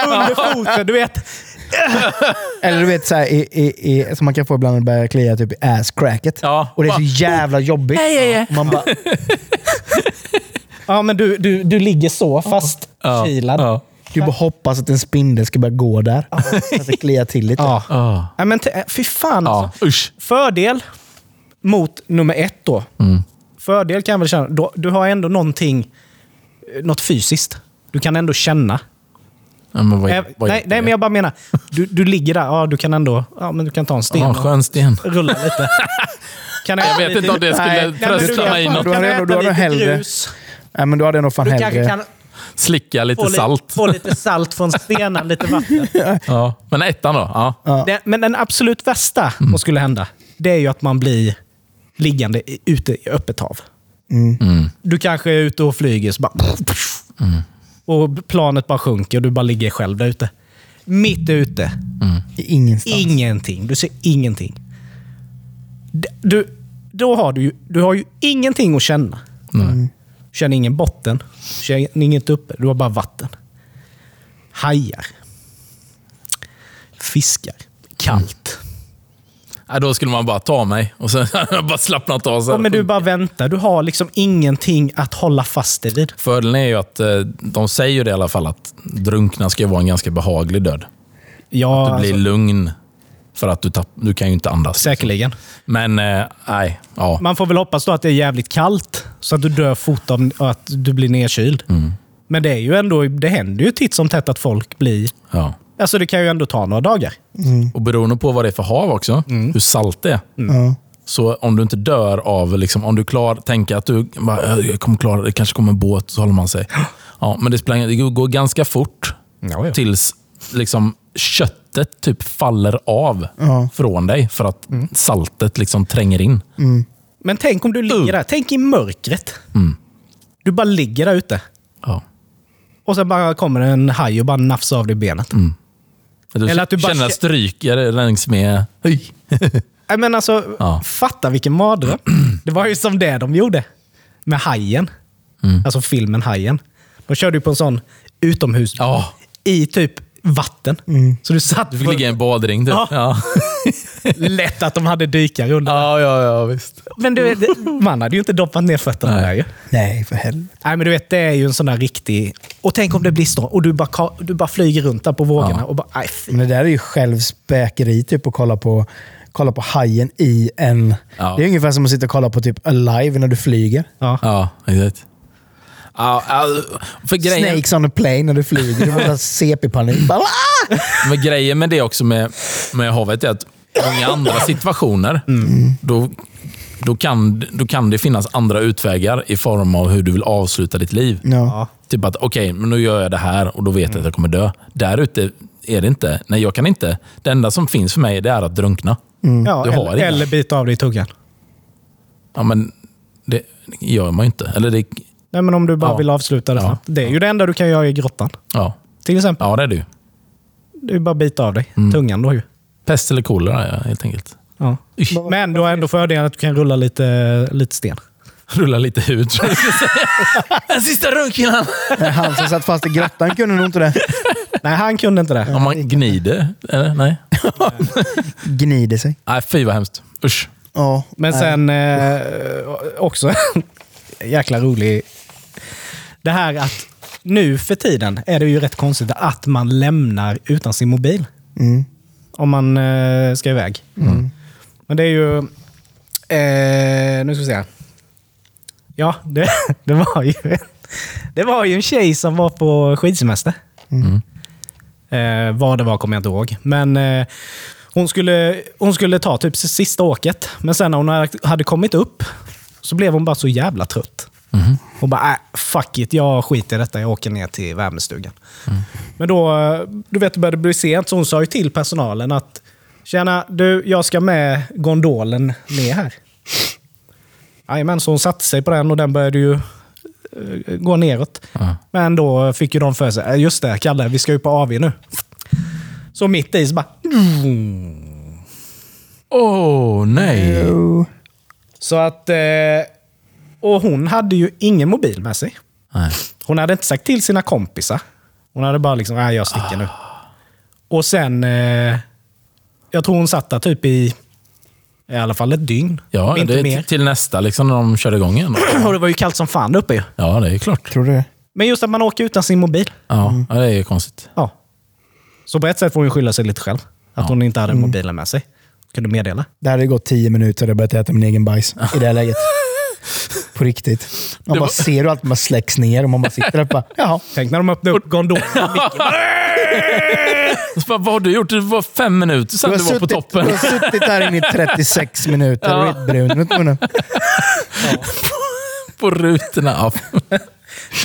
S3: under foten, du vet.
S2: Eller du vet, så här, i, i, i, som man kan få ibland när det börjar klia typ i ass-cracket.
S1: Ja.
S2: Och det är så jävla jobbigt. Och Man bara,
S3: Ja, men du, du, du ligger så fast kilad. Ja.
S2: du bara hoppas att en spindel ska börja gå där. Så att det kliar till lite.
S3: Ja.
S1: Ah.
S3: men t- fy fan
S1: Ja,
S3: alltså.
S1: usch.
S3: Fördel mot nummer ett då. Fördel kan jag väl känna. då- Du har ändå någonting, eh, något fysiskt. Du kan ändå känna.
S1: Ja, men vad,
S3: Eh,
S1: vad
S3: nej,
S1: heter
S3: nej,
S1: det?
S3: men jag bara menar. Du, du ligger där. Ja, du kan ändå ja, men du kan ta en sten.
S1: Ja, en
S3: och-
S1: skön sten.
S3: rulla lite. Kan
S1: Jag vet inte om det skulle
S3: men du
S1: trösta
S3: kan-
S1: mig
S3: du
S1: något.
S2: Du
S3: kan
S2: har ändå- du har
S3: äta
S2: ändå
S3: lite
S2: hellre-
S3: grus.
S2: Nej, men då hade jag nog fan
S4: du kanske
S2: hellre...
S4: kan
S1: Slicka lite
S3: Få lite,
S1: salt.
S3: få lite salt från stenen, lite vatten.
S1: Ja. Men ettan då? Ja.
S3: Det, men den absolut värsta
S1: Mm.
S3: som skulle hända, det är ju att man blir liggande i, ute i öppet hav.
S2: Mm.
S1: Mm.
S3: Du kanske är ute och flyger, så bara, och planet bara sjunker och du bara ligger själv där ute. Mitt ute.
S2: i Ingenstans.
S3: Ingenting. Du ser ingenting. D- Du, då har du, ju, du har ju ingenting att känna. Du känner ingen botten. Du känner inget uppe. Du har bara vatten. Hajar. Fiskar. Kallt.
S1: Ja, Då skulle man bara ta mig och sen bara slappnat av. Så
S3: Ja,
S1: här.
S3: men du bara väntar. Du har liksom ingenting att hålla fast dig vid.
S1: Fördelen är ju att eh, de säger ju det i alla fall att drunkna ska ju vara en ganska behaglig död.
S3: Ja,
S1: Du blir
S3: alltså,
S1: lugn för att du, tapp, du kan ju inte andas.
S3: säkerligen.
S1: Men eh, nej, ja.
S3: Man får väl hoppas då att det är jävligt kallt, så att du dör fort av och att du blir nedkyld. Men det är ju ändå, det händer ju titt som tätt att folk blir...
S1: ja.
S3: Alltså det kan ju ändå ta några dagar. Mm.
S1: Och beroende på vad det är för hav också, hur salt det är.
S2: Ja.
S1: Så om du inte dör av, liksom, om du klar, tänker att du bara, "Jag- jag kommer klara det, det kanske kommer en båt, så håller man sig. Ja, men det, spelar, ingen- det går ganska fort
S3: Ja, ja.
S1: tills liksom, köttet typ faller av från dig för att
S3: Mm.
S1: saltet liksom tränger in.
S3: Men
S1: Mm.
S3: tänk om du ligger där. Tänk i mörkret. Du bara ligger där ute.
S1: Ja.
S3: Och sen bara kommer en haj och bara nafsar av dig benet.
S1: Mm. Att du,
S3: Eller att du bara
S1: känner att
S3: kä-
S1: stryker längs med... Hej.
S3: Nej, men alltså,
S1: Ja.
S3: fatta vilken mardröm. Det var ju som det de gjorde med Hajen.
S1: Mm.
S3: Alltså filmen Hajen. De körde ju på en sån utomhus
S1: Ja.
S3: i typ vatten. Så du satt...
S1: Du fick ligga i en badring typ.
S3: Ja.
S1: Ja.
S3: Lätt att de hade dykare under.
S1: Ja, ja, ja, visst.
S3: Men du, vet, man hade ju inte doppat ner fötterna
S1: Nej.
S3: där ju.
S2: Nej, för helvete.
S3: Nej, men du vet, det är ju en sån där riktig... Och tänk om det blir storm och du bara, ka- du bara flyger runt där på vågorna och bara... Aj, fy.
S2: Men det där är ju självspäkeri, typ att kolla på, kolla på hajen i en...
S1: Ja.
S2: Det är ungefär som att sitta och kolla på typ Alive när du flyger.
S3: Ja.
S1: Ja, exakt. Ja, ja, för grejen,
S2: Snakes on a plane när du flyger. Du måste ha CP-panik. Bara, "Ah!"
S1: Men grejen med det också med, med havet är att många andra situationer, då, då, kan, då kan det finnas andra utvägar i form av hur du vill avsluta ditt liv.
S2: Ja.
S1: Typ att, okej, men nu gör jag det här och då vet jag att jag kommer dö. Där ute är det inte. Nej, jag kan inte. Det enda som finns för mig, det är att drunkna.
S3: Mm. Ja,
S1: Du har
S3: eller,
S1: inga.
S3: eller bita av dig tuggan.
S1: Ja, men det gör man ju inte. Eller det...
S3: Nej, men om du bara
S1: Ja.
S3: vill avsluta det
S1: Ja.
S3: snabbt. Det är ju det enda du kan göra i grottan.
S1: Ja,
S3: Till exempel.
S1: ja det är du.
S3: Du bara bita av dig
S1: Mm.
S3: tungan då ju.
S1: Pest eller kolera, ja, helt enkelt.
S3: Ja. Men du har ändå fördelen att du kan rulla lite, lite sten.
S1: Rulla lite hud. tror jag du skulle säga. En sista runk, killar!
S2: Men Han som satt fast i grottan kunde nog inte det.
S3: Nej, han kunde inte det.
S1: Om man gnider? Eller? Nej.
S2: Gnider sig.
S1: Nej, fy vad hemskt. Usch.
S2: Ja.
S3: Men
S2: Nej.
S3: sen eh, också en jäkla rolig... Det här att nu för tiden är det ju rätt konstigt att man lämnar utan sin mobil.
S2: Mm.
S3: Om man eh, ska iväg. Men det är ju... Eh, nu ska vi se. Ja, det, det, var ju, det var ju en tjej som var på skidsemester. Eh, vad det var kommer jag inte ihåg. Men eh, hon, skulle, hon skulle ta typ sista åket. Men sen när hon hade kommit upp så blev hon bara så jävla trött. Hon bara, äh, fuck it, jag skiter i detta. Jag åker ner till värmestugan. Men då, eh, du vet, det började bli sent, så hon sa ju till personalen att Tjena, du, jag ska med gondolen ner här. Jajamän, så hon satte sig på den och den började ju eh, gå neråt. Men då fick ju de för sig, "Eh, just det Kalle, vi ska ju på AV nu. Så mitt i så bara...
S1: Åh, nej.
S3: Så att... eh, Och hon hade ju ingen mobil med sig.
S1: nej.
S3: Hon hade inte sagt till sina kompisar. Hon hade bara liksom, nej jag sticker nu.
S1: Ah.
S3: Och sen... eh, Jag tror hon satt där typ i... I alla fall ett dygn.
S1: Ja,
S3: om inte
S1: det är
S3: mer.
S1: t- till nästa liksom, när de kör igång igen.
S3: Och det var ju kallt som fan där uppe ju.
S1: Ja, det är klart.
S2: Tror du det?
S3: Men just att man åker utan sin mobil.
S1: Ja,
S2: Mm.
S1: ja det är ju konstigt.
S3: Ja. Så på ett sätt får hon ju skylla sig lite själv. Att hon inte
S1: Mm.
S3: hade mobilen med sig. Kunde meddela.
S2: Det hade gått tio minuter och jag börjat äta min egen bajs i det här läget. På riktigt. Man bara ser hur allt bara släcks ner och man bara sitter där och bara, jaha.
S3: Tänk när de öppnade upp gondolen.
S1: Så bara, vad har du gjort? Det var fem minuter sedan du, var på toppen.
S2: Du har suttit här inne i 36 minuter och är helt brun runt munnen.
S1: på rutorna. Ja.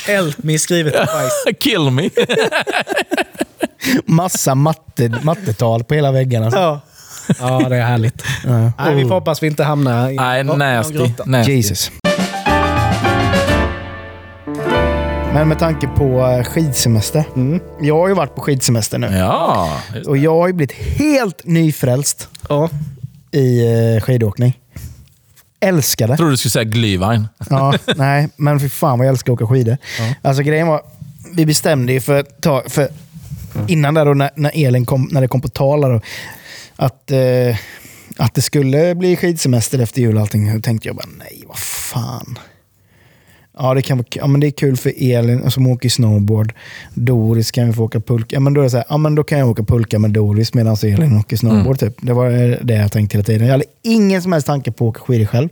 S3: Help me skrivet på bajs.
S1: Kill me.
S2: Massa matte, mattetal på hela väggarna.
S3: Ja. ja, det är härligt. Nej, vi får hoppas vi inte hamnar i
S1: nej,
S3: någon
S1: nasty.
S3: grotta.
S1: nasty.
S2: Jesus. Men med tanke på eh, skidsemester. Jag har ju varit på skidsemester nu.
S1: Ja. just-
S2: Och jag har ju blivit helt nyfrälst
S3: Ja.
S2: i eh, skidåkning. Älskar det.
S1: Jag trodde du skulle säga Glühwein.
S2: Ja, nej, men för fan vad jag älskar att åka skidor. Alltså grejen var, vi bestämde ju för, ett tag- för innan där då, när, när Elin kom, när det kom på tal där då, att, eh, att det skulle bli skidsemester efter jul och allting. Då tänkte jag bara, nej vad fan. Ja, det, kan vara, k- ja, men det är kul för Elin som åker snowboard. Doris kan ju få åka pulka. Ja, men då är det så här, ja, men då kan jag åka pulka med Doris medan Elin åker snowboard.
S1: Mm.
S2: Typ. Det var eh, det jag tänkte hela tiden. Jag hade ingen som helst tanke på att åka skidor själv.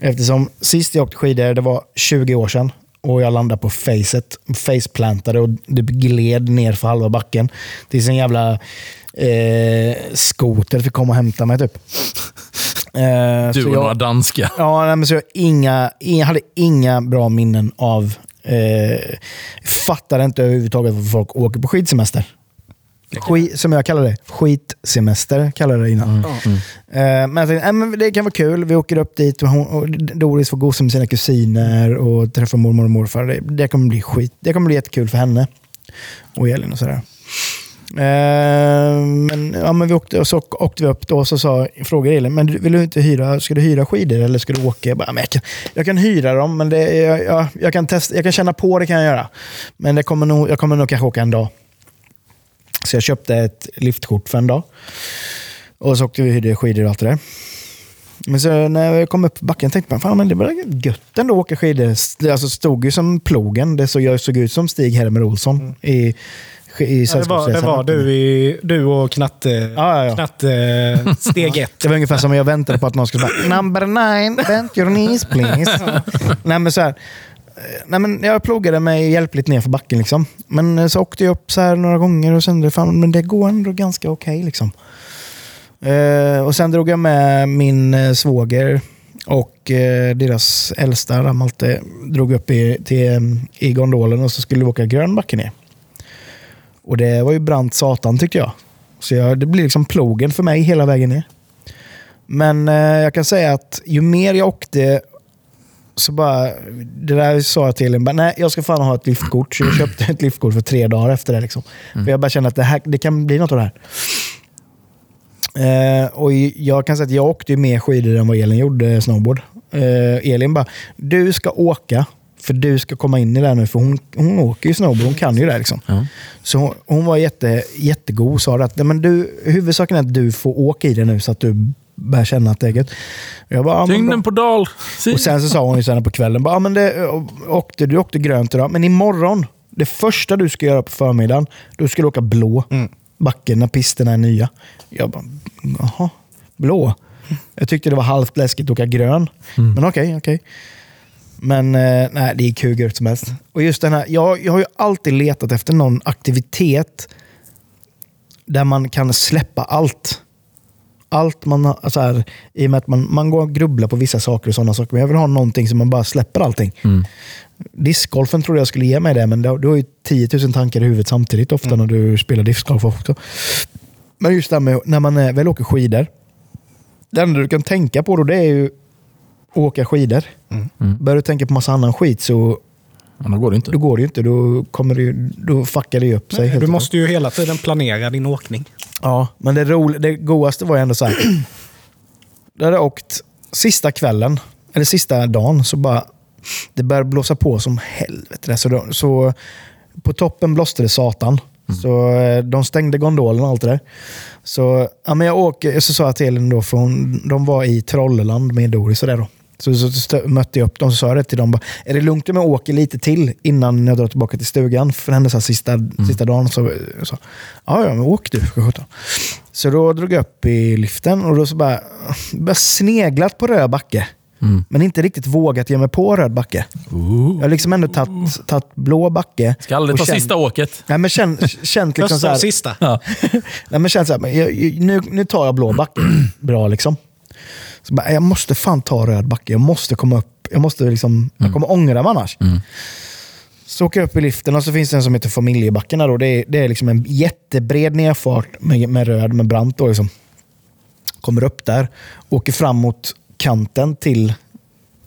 S2: Eftersom sist jag åkte skidor, det var 20 år sedan. Och jag landade på facet. Faceplantade och det gled ner för halva backen. Tills en jävla eh, skoter fick komma och hämta mig typ. Eh,
S1: Du
S2: så
S1: och
S2: jag-
S1: några danska.
S2: Ja, nej, men så jag, inga, inga, hade inga bra minnen av... Eh, fattar inte överhuvudtaget varför folk åker på skidsemester. Skit, som jag kallar det. Skitsemester kallar jag det innan. Eh, men jag tänkte, "Nej, men det kan vara kul. Vi åker upp dit och, hon, och Doris får gosa med sina kusiner och träffa mormor och morfar. Det, det kommer bli skit. Det kommer bli jättekul för henne och Elin och sådär. Eh, men, ja, men vi åkte, och så åkte vi upp då och så sa, frågade Elin, men du- vill du inte hyra, ska du hyra skidor eller ska du åka? Jag, bara, men jag, kan, jag kan hyra dem, men det, jag, jag, jag, kan testa, jag kan känna på det kan jag göra. Men det kommer nog, jag kommer nog kanske åka en dag. Så jag köpte ett liftkort för en dag. Och så åkte vi och hyrde skidor och allt det där. Men så när jag kom upp på backen tänkte jag, fan men det var gött ändå att åka skidor. Det alltså stod ju som plogen. Det såg, jag såg ut som Stig-Helmer Olsson i, i
S3: Ja, Mm. det, var, det
S2: Sällskapsresan.
S3: var du, i, du och knatte,
S2: Ja, ja, ja.
S3: knatte eh, steg ett.
S2: Det var ungefär som jag väntade på att någon skulle säga “Number nine, bend your knees please”. nej, men så här, eh, nej, men jag plogade mig hjälpligt ner för backen. Liksom. Men eh, så åkte jag upp så här några gånger och kände fan, men det går ändå ganska okej. liksom. Eh, och sen drog jag med min eh, svåger och eh, deras äldsta, Ramalte, drog upp i, till, eh, i gondolen och så skulle vi åka grön backe ner. Och det var ju brant satan tyckte jag. Så jag, det blir liksom plogen för mig hela vägen ner. Men eh, jag kan säga att ju mer jag åkte så bara, det där sa jag till Elin, bara, nej jag ska fan ha ett liftkort. Så jag köpte ett liftkort för tre dagar efter det. Liksom. För jag bara kände att det, här, det kan bli något av det här. Eh, och jag kan säga att jag åkte ju mer skidor än vad Elin gjorde snowboard. Eh, Elin bara, du ska åka, för du ska komma in i det här nu. För hon, hon åker ju snowboard, hon kan ju det här. Liksom.
S1: Ja.
S2: Så hon, hon var jätte, jättegod och sa att "Nej, men du, huvudsaken är att du får åka i det nu så att du börjar känna att det är gött. Jag bara, "Ja, men bra."
S1: Tyngden på dal.
S2: Och sen så sa hon ju sen på kvällen, bara, "Ja, men det, åkte, du åkte grönt idag, men imorgon, det första du ska göra på förmiddagen, då ska du åka blå backen när pisterna är nya. Jag bara, jaha, blå? Jag tyckte det var halvt läskigt att åka grön, men okej, okej. Men eh, nej, det gick hur gött som helst. Och just den här, jag, jag har ju alltid letat efter någon aktivitet där man kan släppa allt. Allt man har, så här, i och med att man, man går och grubblar på vissa saker och sådana saker. Men jag vill ha någonting som man bara släpper allting. Discgolfen trodde jag skulle ge mig det, men du, du har ju 10 000 tankar i huvudet samtidigt ofta när du spelar discgolf också. Men just det här med när man eh, väl åker skidor. Det enda du kan tänka på då det är ju att åka skidor.
S3: Mm.
S2: Börjar du tänka på massa annan skit så
S1: Ja, då går det inte.
S2: då går det ju inte. Då, kommer det, ju- då fuckar det ju upp sig. helt
S3: Du
S2: och
S3: måste ju hela tiden planera din åkning.
S2: Ja, men det, rol- det godaste var ju ändå så här. Då hade jag åkt sista kvällen, eller sista dagen, så bara... Det började blåsa på som helvete. där. Så, då, så på toppen blåste det satan. Så eh, de stängde gondolen och allt det där. Så, ja, men jag åker, så sa jag till Elin då, för hon, de var i Trolleland med Doris och det då. Så, så stö- mötte jag upp dem och sa det till dem. bara, Är det lugnt om jag åker lite till innan jag drar tillbaka till stugan? För hennes här sista,
S1: Mm.
S2: sista dagen så sa ja, ja, men åk du för sjutton. Så då drog jag upp i liften och då så bara, bara sneglat på röd backe.
S1: Mm.
S2: Men inte riktigt vågat ge mig på röd backe. Jag har liksom ändå tagit- tagit blå backe.
S1: Ska aldrig
S2: och
S1: ta
S2: känt-
S1: sista åket.
S2: Nej, men känt, känt liksom så
S3: Första
S2: här,
S3: och sista.
S1: Ja.
S2: Nej, men känns så här, men jag, jag- nu, nu tar jag blå backe. Bra liksom. Så bara, jag måste fan ta röd backe. Jag måste komma upp. Jag, måste liksom, jag kommer ångra mig annars. Så åker jag upp i liften och så finns det en som heter familjebacken. Där då. Det, är, det är liksom en jättebred nedfart med, med röd, med brant. Då, liksom. Kommer upp där, åker fram mot kanten till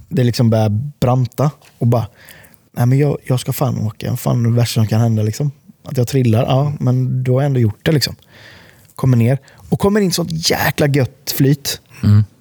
S2: det liksom börjar branta och bara, nej men jag, jag ska fan åka. Fan det värsta som kan hända liksom. Att jag trillar, ja men då har jag ändå gjort det liksom. Kommer ner och kommer in sånt jäkla gött flyt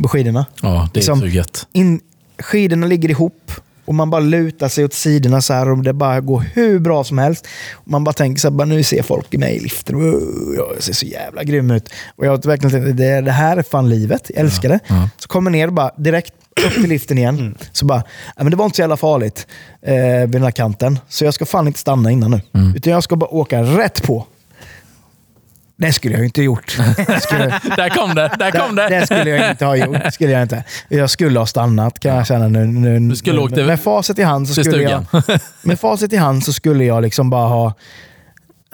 S2: på skidorna.
S1: Mm. Ja, det är
S2: Liksom-
S1: så gött.
S2: In, skidorna ligger ihop och man bara lutar sig åt sidorna så här och det bara går hur bra som helst. Och man bara tänker så här, bara, nu ser folk i mig i liften. Wow, Jag ser så jävla grym ut. Och jag har verkligen tänkt, det, det här är fan livet. Jag älskar det. Så kommer ner och bara direkt upp till liften igen. Så bara, "Ja, men det var inte så jävla farligt eh, vid den här kanten. Så jag ska fan inte stanna innan nu. Utan jag ska bara åka rätt på. Det skulle jag ju inte gjort. Det skulle,
S1: Där kom det! Där kom
S2: det,
S1: det!
S2: det skulle jag inte ha gjort. Det Skulle jag, inte. jag skulle ha stannat kan jag känna nu. nu du
S1: skulle åkt
S2: med, med facit i hand så
S1: till
S2: skulle jag, Med facit i hand så skulle jag liksom bara ha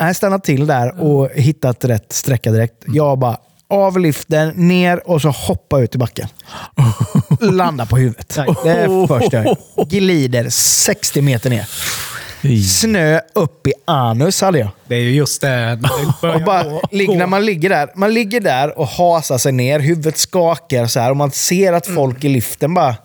S2: nej, stannat till där och hittat rätt sträcka direkt.
S1: Mm.
S2: Jag bara av liften, ner och så hoppa ut i backen. Landa på huvudet. Det är först jag gör. Glider 60 meter ner. Snö upp i anus hade jag.
S3: Det är ju just det. det börjar
S2: Och bara,
S3: gå-
S2: ligg- när man ligger där man ligger där och hasar sig ner, huvudet skakar så här och man ser
S3: Mm.
S2: att folk i liften bara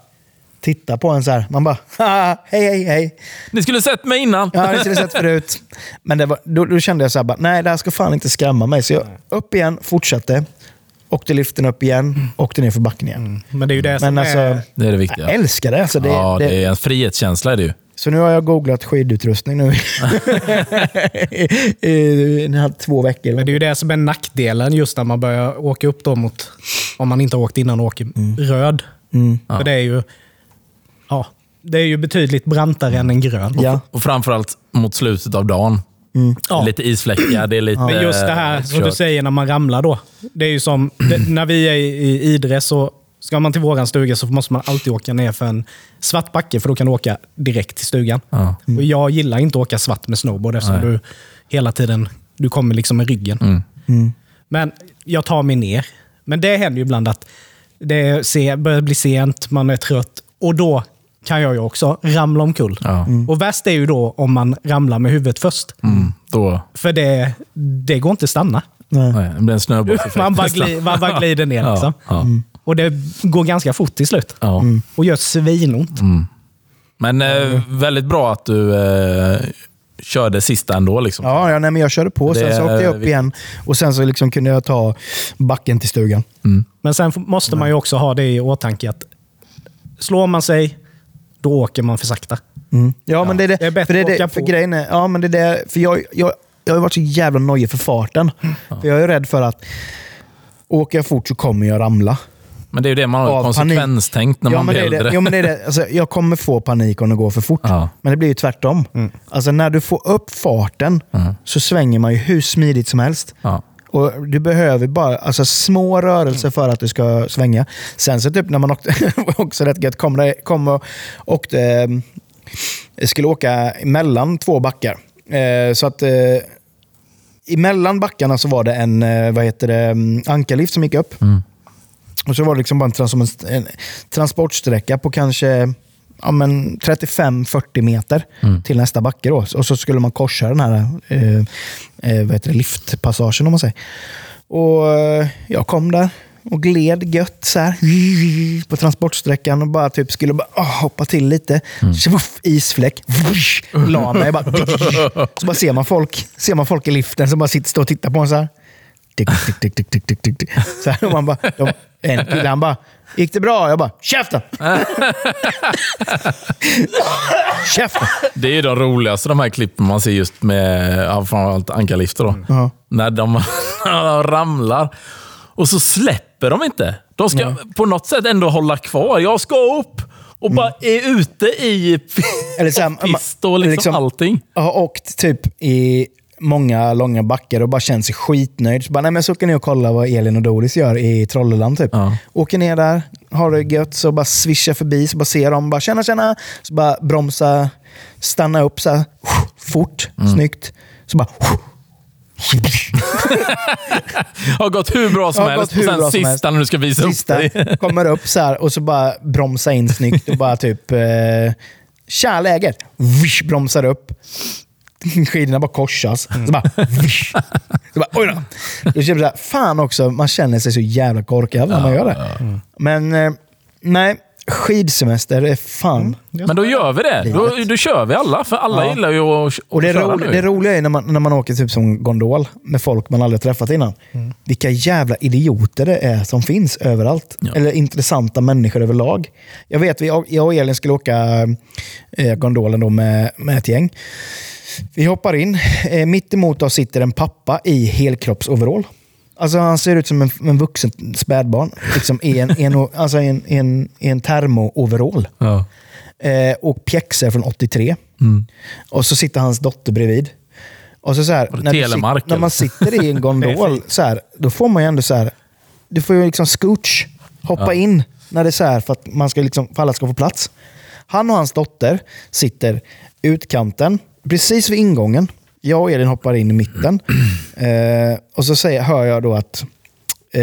S2: tittar på en så här. Man bara, "Haha, hej hej hej.
S1: Ni skulle sett mig innan.
S2: Ja, det skulle jag sett förut. Men det var, då, då kände jag så här, bara, nej det här ska fan inte skrämma mig. Så jag upp igen, fortsatte. Åkte liften upp igen, åkte ner för backen igen.
S3: Men det är ju det Mm. som
S2: Men alltså,
S3: är...
S1: Det är det viktiga.
S2: jag älskar det. Alltså, det,
S1: ja,
S2: det,
S1: det är en frihetskänsla är det ju.
S2: Så nu har jag googlat skidutrustning nu i, i, en halv- två veckor.
S3: Men det är ju det som är nackdelen just när man börjar åka upp då mot, om man inte har åkt innan, och åker
S2: Mm.
S3: röd. För det är ju ja, det är ju betydligt brantare än en grön.
S2: ja.
S1: Och framförallt mot slutet av dagen.
S2: Mm.
S1: Det är Lite isfläckar, det är lite...
S3: Men just det här
S1: eh,
S3: som du
S1: kört.
S3: säger när man ramlar då. Det är ju som det, när vi är i i Idre så ska man till våran stuga så måste man alltid åka ner för en svart backe för då kan du åka direkt till stugan.
S1: Ja.
S3: Och jag gillar inte att åka svart med snowboard eftersom du hela tiden du kommer liksom med ryggen.
S1: Mm.
S3: Men jag tar mig ner. Men det händer ju ibland att det är se- börjar bli sent, man är trött och då kan jag ju också ramla omkull.
S1: Ja.
S3: Och värst är ju då om man ramlar med huvudet först.
S1: Mm, då...
S3: För det, det går inte att stanna.
S2: Nej.
S1: Nej, det blir en snöbollseffekt.
S3: Man bara, gli, man bara glider ner.
S1: Ja,
S3: Liksom.
S1: ja. Mm.
S3: Och det går ganska fort till slut.
S1: Ja. Mm.
S3: Och gör svinont.
S1: Men eh, väldigt bra att du eh, körde sista ändå. Liksom.
S2: Ja, ja nej, men jag körde på.
S1: Det
S2: Sen så
S1: är
S2: åkte jag upp
S1: viktigt.
S2: igen och sen så liksom kunde jag ta backen till stugan.
S3: Men sen f- måste
S1: Mm.
S3: man ju också ha det i åtanke att slår man sig, då åker man för sakta.
S2: Mm. Ja, men det är det.
S3: Det är bättre
S2: för det är
S3: att åka
S2: det, för
S3: på.
S2: grejen är, ja, men det är det, för jag, jag, jag har varit så jävla nojig för farten.
S1: Mm.
S2: För jag är rädd för att åker jag fort så kommer jag ramla.
S1: Men det är ju det man har
S2: Av
S1: konsekvenstänkt när
S2: ja,
S1: man
S2: men
S1: blir
S2: det är
S1: äldre.
S2: Det, ja, men det är det. Alltså, jag kommer få panik om det går för fort.
S1: Ja.
S2: Men det blir ju tvärtom.
S3: Mm.
S2: Alltså, när du får upp farten
S1: Mm.
S2: så svänger man ju hur smidigt som helst.
S1: Ja.
S2: Och Du behöver bara alltså, små rörelser för att du ska svänga. Sen så typ när man åkte, det var också rätt gött, kom, det, kom och åkte, eh, skulle åka mellan två backar. Eh, så att eh, emellan backarna så var det en eh, vad heter det, mm, ankarlift som gick upp. Och så var det liksom bara en, trans- som en, st- en transportsträcka på kanske ja, men 35-40 meter till nästa backe. Då. Och så skulle man korsa den här eh, eh, vad heter det, liftpassagen om man säger. Och eh, jag kom där och gled gött så här på transportsträckan och bara typ skulle bara, ah, hoppa till lite. Tjoff, isfläck. Vush, la mig bara. Så bara ser man folk, ser man folk i liften som bara sitter, står och tittar på en så här. Tick, tick, tick, tick, tick, tick, tick, tick. Så här, och man bara, de, en kille han bara, gick det bra? Jag bara, käften! käften!
S1: Det är ju de roligaste de här klippen man ser just med ja, framförallt ankarlifter. Då.
S2: Ja.
S1: När de ramlar och så släpper de inte. De ska på något sätt ändå hålla kvar. Jag ska upp! Och bara
S2: Mm.
S1: är ute i
S2: Eller så här,
S1: pist
S2: man-
S1: och liksom,
S2: liksom-
S1: allting.
S2: Jag har åkt typ i många långa backar och bara känt sig skitnöjd. Så, bara, nej, men så åker ni och kollar vad Elin och Doris gör i Trolleland. Typ.
S1: Ja.
S2: Åker ner där, har det gött, så bara svischar förbi, så bara ser de, bara tjena tjena. Så bara bromsa, stanna upp så här, fort, snyggt. Så bara...
S1: Har gått hur bra som
S2: Har
S1: helst.
S2: gått hur
S1: Och sen
S2: bra som
S1: sista
S2: helst.
S1: när du ska visa upp dig.
S2: Sista kommer upp så här och så bara bromsa in snyggt och bara typ... Eh, Tja läget! Vish, bromsar upp. Skidorna bara korsas. Så bara... Vish. Så bara oj då! Då känner man så här, fan också, man känner sig så jävla korkad när man gör det. Men eh, nej, skidsemester är fan...
S1: Men då gör vi det. Då, då kör vi alla. För alla gillar ju att,
S2: Och det,
S1: att köra
S2: ro,
S1: nu.
S2: det roliga är när man, när man åker typ som gondol med folk man aldrig träffat innan. Vilka jävla idioter det är som finns överallt. Eller intressanta människor överlag. Jag vet, vi, jag och Elin skulle åka eh, gondolen då med, med ett gäng. Vi hoppar in. Eh, mitt emot oss sitter en pappa i helkroppsoverall. Alltså han ser ut som en, en vuxen spädbarn. Liksom i en, i en, alltså i en, i en, i en termo-overall.
S1: Ja.
S2: Eh, och pjäxor från 83.
S1: Mm.
S2: Och så sitter hans dotter bredvid. Och så så här,
S1: det
S2: när, du
S1: Telemark,
S2: sit- när man sitter i en gondol, så här, då får man ju ändå så här, du får ju liksom scooch, hoppa in när det är så här för att, man ska liksom, för alla ska få plats. Han och hans dotter sitter utkanten, precis vid ingången. Jag och Elin hoppar in i mitten. Eh, och så säger, hör jag då att eh,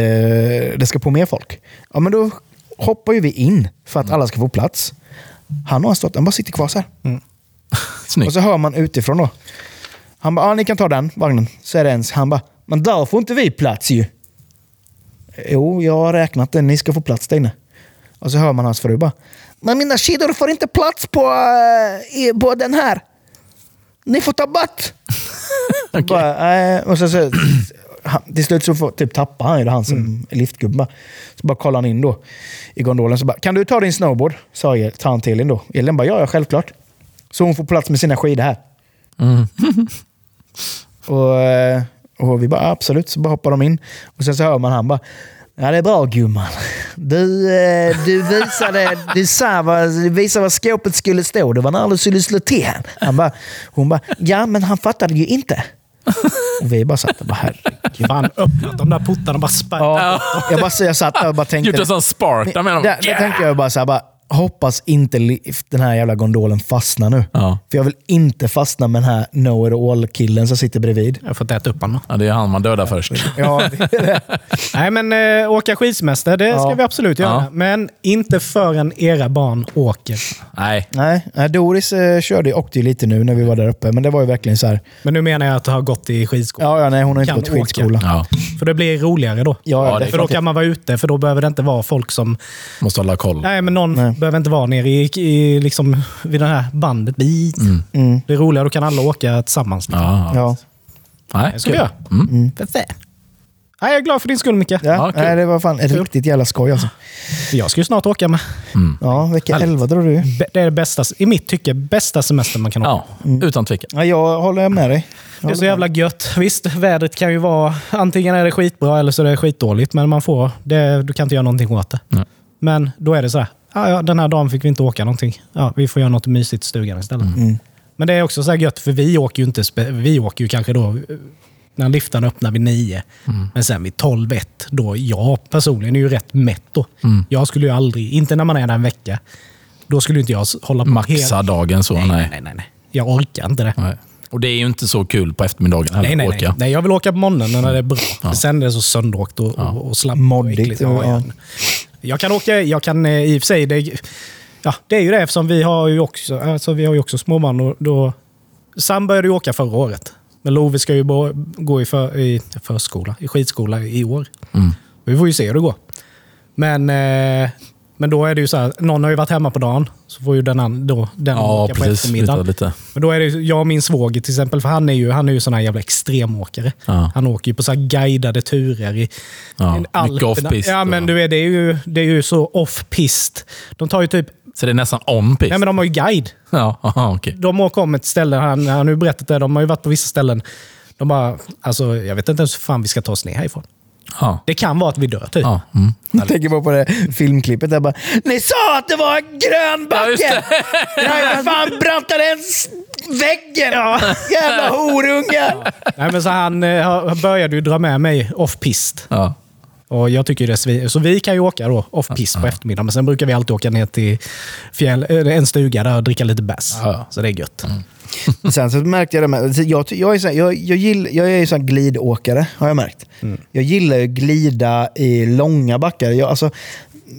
S2: det ska på mer folk. Ja, men då hoppar ju vi in för att alla ska få plats. Han och hans dotter han bara sitter kvar så här.
S1: Snyggt.
S2: Och så hör man utifrån då. Han bara, ah, ni kan ta den vagnen. Så är det ens. Han bara, men där får inte vi plats ju. Jo, jag har räknat det. Ni ska få plats där inne. Och så hör man hans fru bara, men mina skidor får inte plats på, eh, i, på den här. Ni får ta bort. Bara, nej. och så, så, han, till slut så får, typ tappar han ju det, han som är liftgubben. bara. Så bara kollar han in då i gondolen. Så bara, kan du ta din snowboard? Sa El- sa han till Elin då. Elin bara, ja, ja självklart. Så hon får plats med sina skidor här. och, eh, och vi bara, absolut. Så bara hoppar de in. Och sen så hör man han bara, Ja, det är bra gumman. Du, eh, du visade, du sa vad, du visade vad skåpet skulle stå. Det var när du skulle slå till han. han bara, Hon bara, ja men han fattade ju inte. Och vi bara satt och bara, herregud.
S3: Fan, öppnat de där portarna och bara spärrat.
S2: Ja, jag, bara, jag satt där och bara
S1: Gjort
S2: tänkte...
S1: en sån spark. Där menar
S2: Där, där tänkte jag bara så här, bara, hoppas inte li- den här jävla gondolen fastnar nu.
S1: Ja.
S2: För jag vill inte fastna med den här know it all-killen som sitter bredvid.
S3: Jag har fått äta upp honom.
S1: Ja, det är han man dödar först.
S2: Ja, det är det.
S3: Nej, men eh, åka skidsemester, det ska
S2: Ja.
S3: vi absolut göra.
S1: Ja.
S3: Men inte förrän era barn åker.
S1: Nej.
S2: nej, nej, Doris eh, körde och det lite nu när vi var där uppe, men det var ju verkligen så här.
S3: Men nu menar jag att du har gått i skidskola.
S2: Ja, ja nej, hon har inte
S3: Kan
S2: gått skidskola.
S1: Ja.
S3: För det blir roligare då.
S2: Ja,
S1: Ja, det
S2: ja,
S1: är
S3: För då
S2: definitivt.
S3: kan man vara ute, för då behöver det inte vara folk som...
S1: Måste hålla koll.
S3: Nej, men någon behöver inte vara nere i, i, liksom, vid det här bandet. Bit. Det är roligare, då kan alla åka tillsammans. Liksom.
S1: Mm. Ja.
S2: Ja.
S1: Nej.
S3: Det ska vi göra. För fan. Nej, jag är glad för din skull, Micke.
S1: Ja,
S2: Ja,
S1: kul.
S2: nej, det var fan riktigt jävla skoj alltså.
S3: Jag ska ju snart åka med.
S1: Mm.
S2: Ja, vecka 11 drar du.
S3: Be- Det är det bästa, i mitt tycke, bästa semestern man kan åka.
S1: Ja, utan tvekan.
S2: Ja, jag håller med dig.
S3: Det är så jävla gött. Visst, vädret kan ju vara... Antingen är det skitbra eller så är det skitdåligt, men man får... Det, du kan inte göra någonting åt det.
S1: Nej.
S3: Men då är det så här. Ja, ja, den här dagen fick vi inte åka någonting. Ja, vi får göra något mysigt i stugan istället.
S1: Mm.
S3: Men det är också så här gött, för vi åker ju inte... spe- Vi åker ju kanske då... eh, När liftarna öppnar vid nio,
S1: Mm.
S3: men sen vid tolv, ett, då jag personligen är ju rätt mätt då.
S1: Mm.
S3: Jag skulle ju aldrig, inte när man är där en vecka, då skulle ju inte jag s- hålla på
S1: Maxa dagen så.
S3: Nej, nej,
S1: Nej.
S3: nej, nej, nej. Jag orkar inte det.
S1: Nej. Och det är ju inte så kul på eftermiddagen heller.
S3: Nej, nej, nej.
S1: orka.
S3: nej. Jag vill åka på morgonen när det är bra. Sen är det så söndråkt och, och, och slabbt. och
S2: Moddigt,
S3: äckligt. Ja,
S2: ja.
S3: ja. Jag kan åka, jag kan eh, i och för sig... Det, ja, det är ju det eftersom vi har ju också, alltså, vi har ju också småbarn. Och då, Sam började ju åka förra året. Men Love ska ju bo- gå i, för, i förskola, i skidskola i år.
S1: Mm.
S3: Vi får ju se hur det går. Men, eh, men då är det ju så här, någon har ju varit hemma på dagen. Så får ju den, an- då, den
S1: Ja,
S3: åka på
S1: precis. Lite,
S3: eftermiddagen.
S1: lite.
S3: Men då är det ju- jag och min svåger till exempel, för han är ju, han är ju sån här jävla extremåkare.
S1: Ja.
S3: Han åker ju på så här guidade turer i
S1: Ja,
S3: i
S1: mycket off-pist
S3: Ja,
S1: och-
S3: men du vet, det är ju, det är ju så off-pist. De tar ju typ...
S1: Så det är nästan on pist.
S3: Nej, men de har ju guide.
S1: Ja, aha, okej.
S3: De åker om ett ställe, han, han har ju berättat det, de har ju varit på vissa ställen. De bara, alltså jag vet inte ens hur fan vi ska ta oss ner härifrån.
S1: Ja.
S3: Det kan vara att vi dör typ.
S1: Ja. Mm.
S2: Jag tänker bara på det filmklippet där bara Ni sa att det var en grön
S1: Ja, just
S2: backe!
S1: det.
S2: Jag har fan brantade ens väggen! Jävla horungar!
S3: Nej, men så han, eh, han började ju dra med mig off-pist.
S1: Ja.
S3: Och jag tycker det är svi- Så vi kan ju åka då off-piss på eftermiddagen, men sen brukar vi alltid åka ner till fjäll, eh, en stuga där och dricka lite bärs.
S1: Ja. Mm.
S3: Så det är gött.
S2: Mm. Sen så märkte jag det med, så jag, ty- jag är så här, jag, jag, gill, jag är ju så här glidåkare har jag märkt.
S1: Mm.
S2: Jag gillar ju att glida i långa backar. Jag, alltså,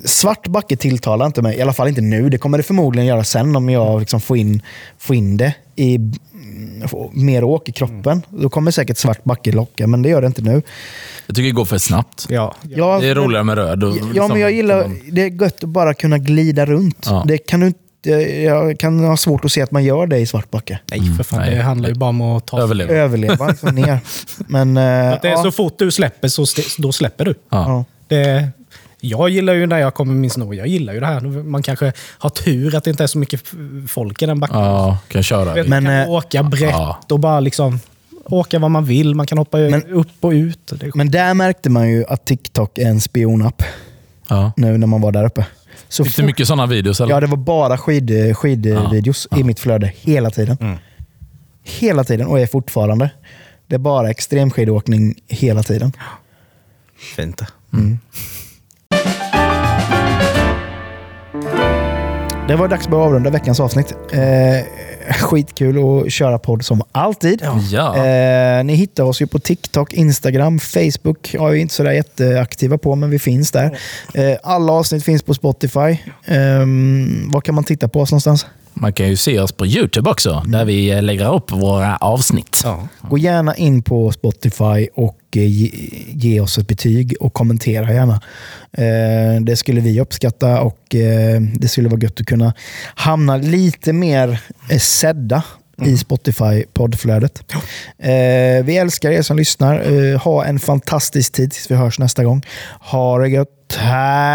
S2: svart backe tilltalar inte mig, i alla fall inte nu. Det kommer det förmodligen göra sen om jag liksom får, in, får in det i mm, får mer åk i kroppen.
S1: Mm.
S2: Då kommer säkert svart backe locka, men det gör det inte nu.
S1: Jag tycker det går för snabbt.
S3: Ja.
S2: Jag-
S1: Det är roligare med röd. och
S2: Ja,
S1: liksom-
S2: men jag gillar... Det är gött att bara kunna glida runt.
S1: Ja.
S2: Det kan du inte... Jag kan ha svårt att se att man gör det i Svartbacke.
S3: Nej, för fan.
S1: Mm. nej.
S3: Det handlar ju bara om att ta
S1: Överlever.
S2: Överleva liksom ner. Men... eh,
S3: Att det är
S2: ja,
S3: så fort du släpper, så st- då släpper du.
S1: Ja.
S2: ja.
S3: Det, jag gillar ju när jag kommer med min snor. Jag gillar ju det här. Man kanske har tur att det inte är så mycket f- folk i den backen.
S1: Ja, kan köra.
S3: Vet,
S1: Men,
S3: man kan
S2: Men, eh,
S3: åka brett
S1: ja.
S3: och bara liksom åka vad man vill. Man kan hoppa upp och ut. Det är
S2: Men där märkte man ju att TikTok är en spionapp
S1: ja.
S2: nu när man var där uppe. Så
S1: Fick du
S2: fort-
S1: mycket sådana videos? Eller?
S2: Ja, det var bara skid, eh, skidvideos i mitt flöde hela tiden. Hela tiden, och är fortfarande. Det är bara extremskidåkning hela tiden.
S3: fint.
S2: Det var dags att börja avrunda veckans avsnitt. Eh, skitkul att köra podd som alltid.
S1: Ja.
S2: Eh, ni hittar oss ju på TikTok, Instagram, Facebook. Jag är ju inte sådär jätteaktiva på, men vi finns där. Eh, alla avsnitt finns på Spotify. Ehm, var kan man titta på oss någonstans?
S1: Man kan ju se oss på YouTube också, där vi eh, lägger upp våra avsnitt.
S3: Ja.
S2: Gå gärna in på Spotify och eh, ge, ge oss ett betyg och kommentera gärna. Eh, Det skulle vi uppskatta och eh, det skulle vara gött att kunna hamna lite mer eh, sedda i Spotify-poddflödet. Eh, Vi älskar er som lyssnar. Eh, Ha en fantastisk tid tills vi hörs nästa gång. Ha det gött. Hej!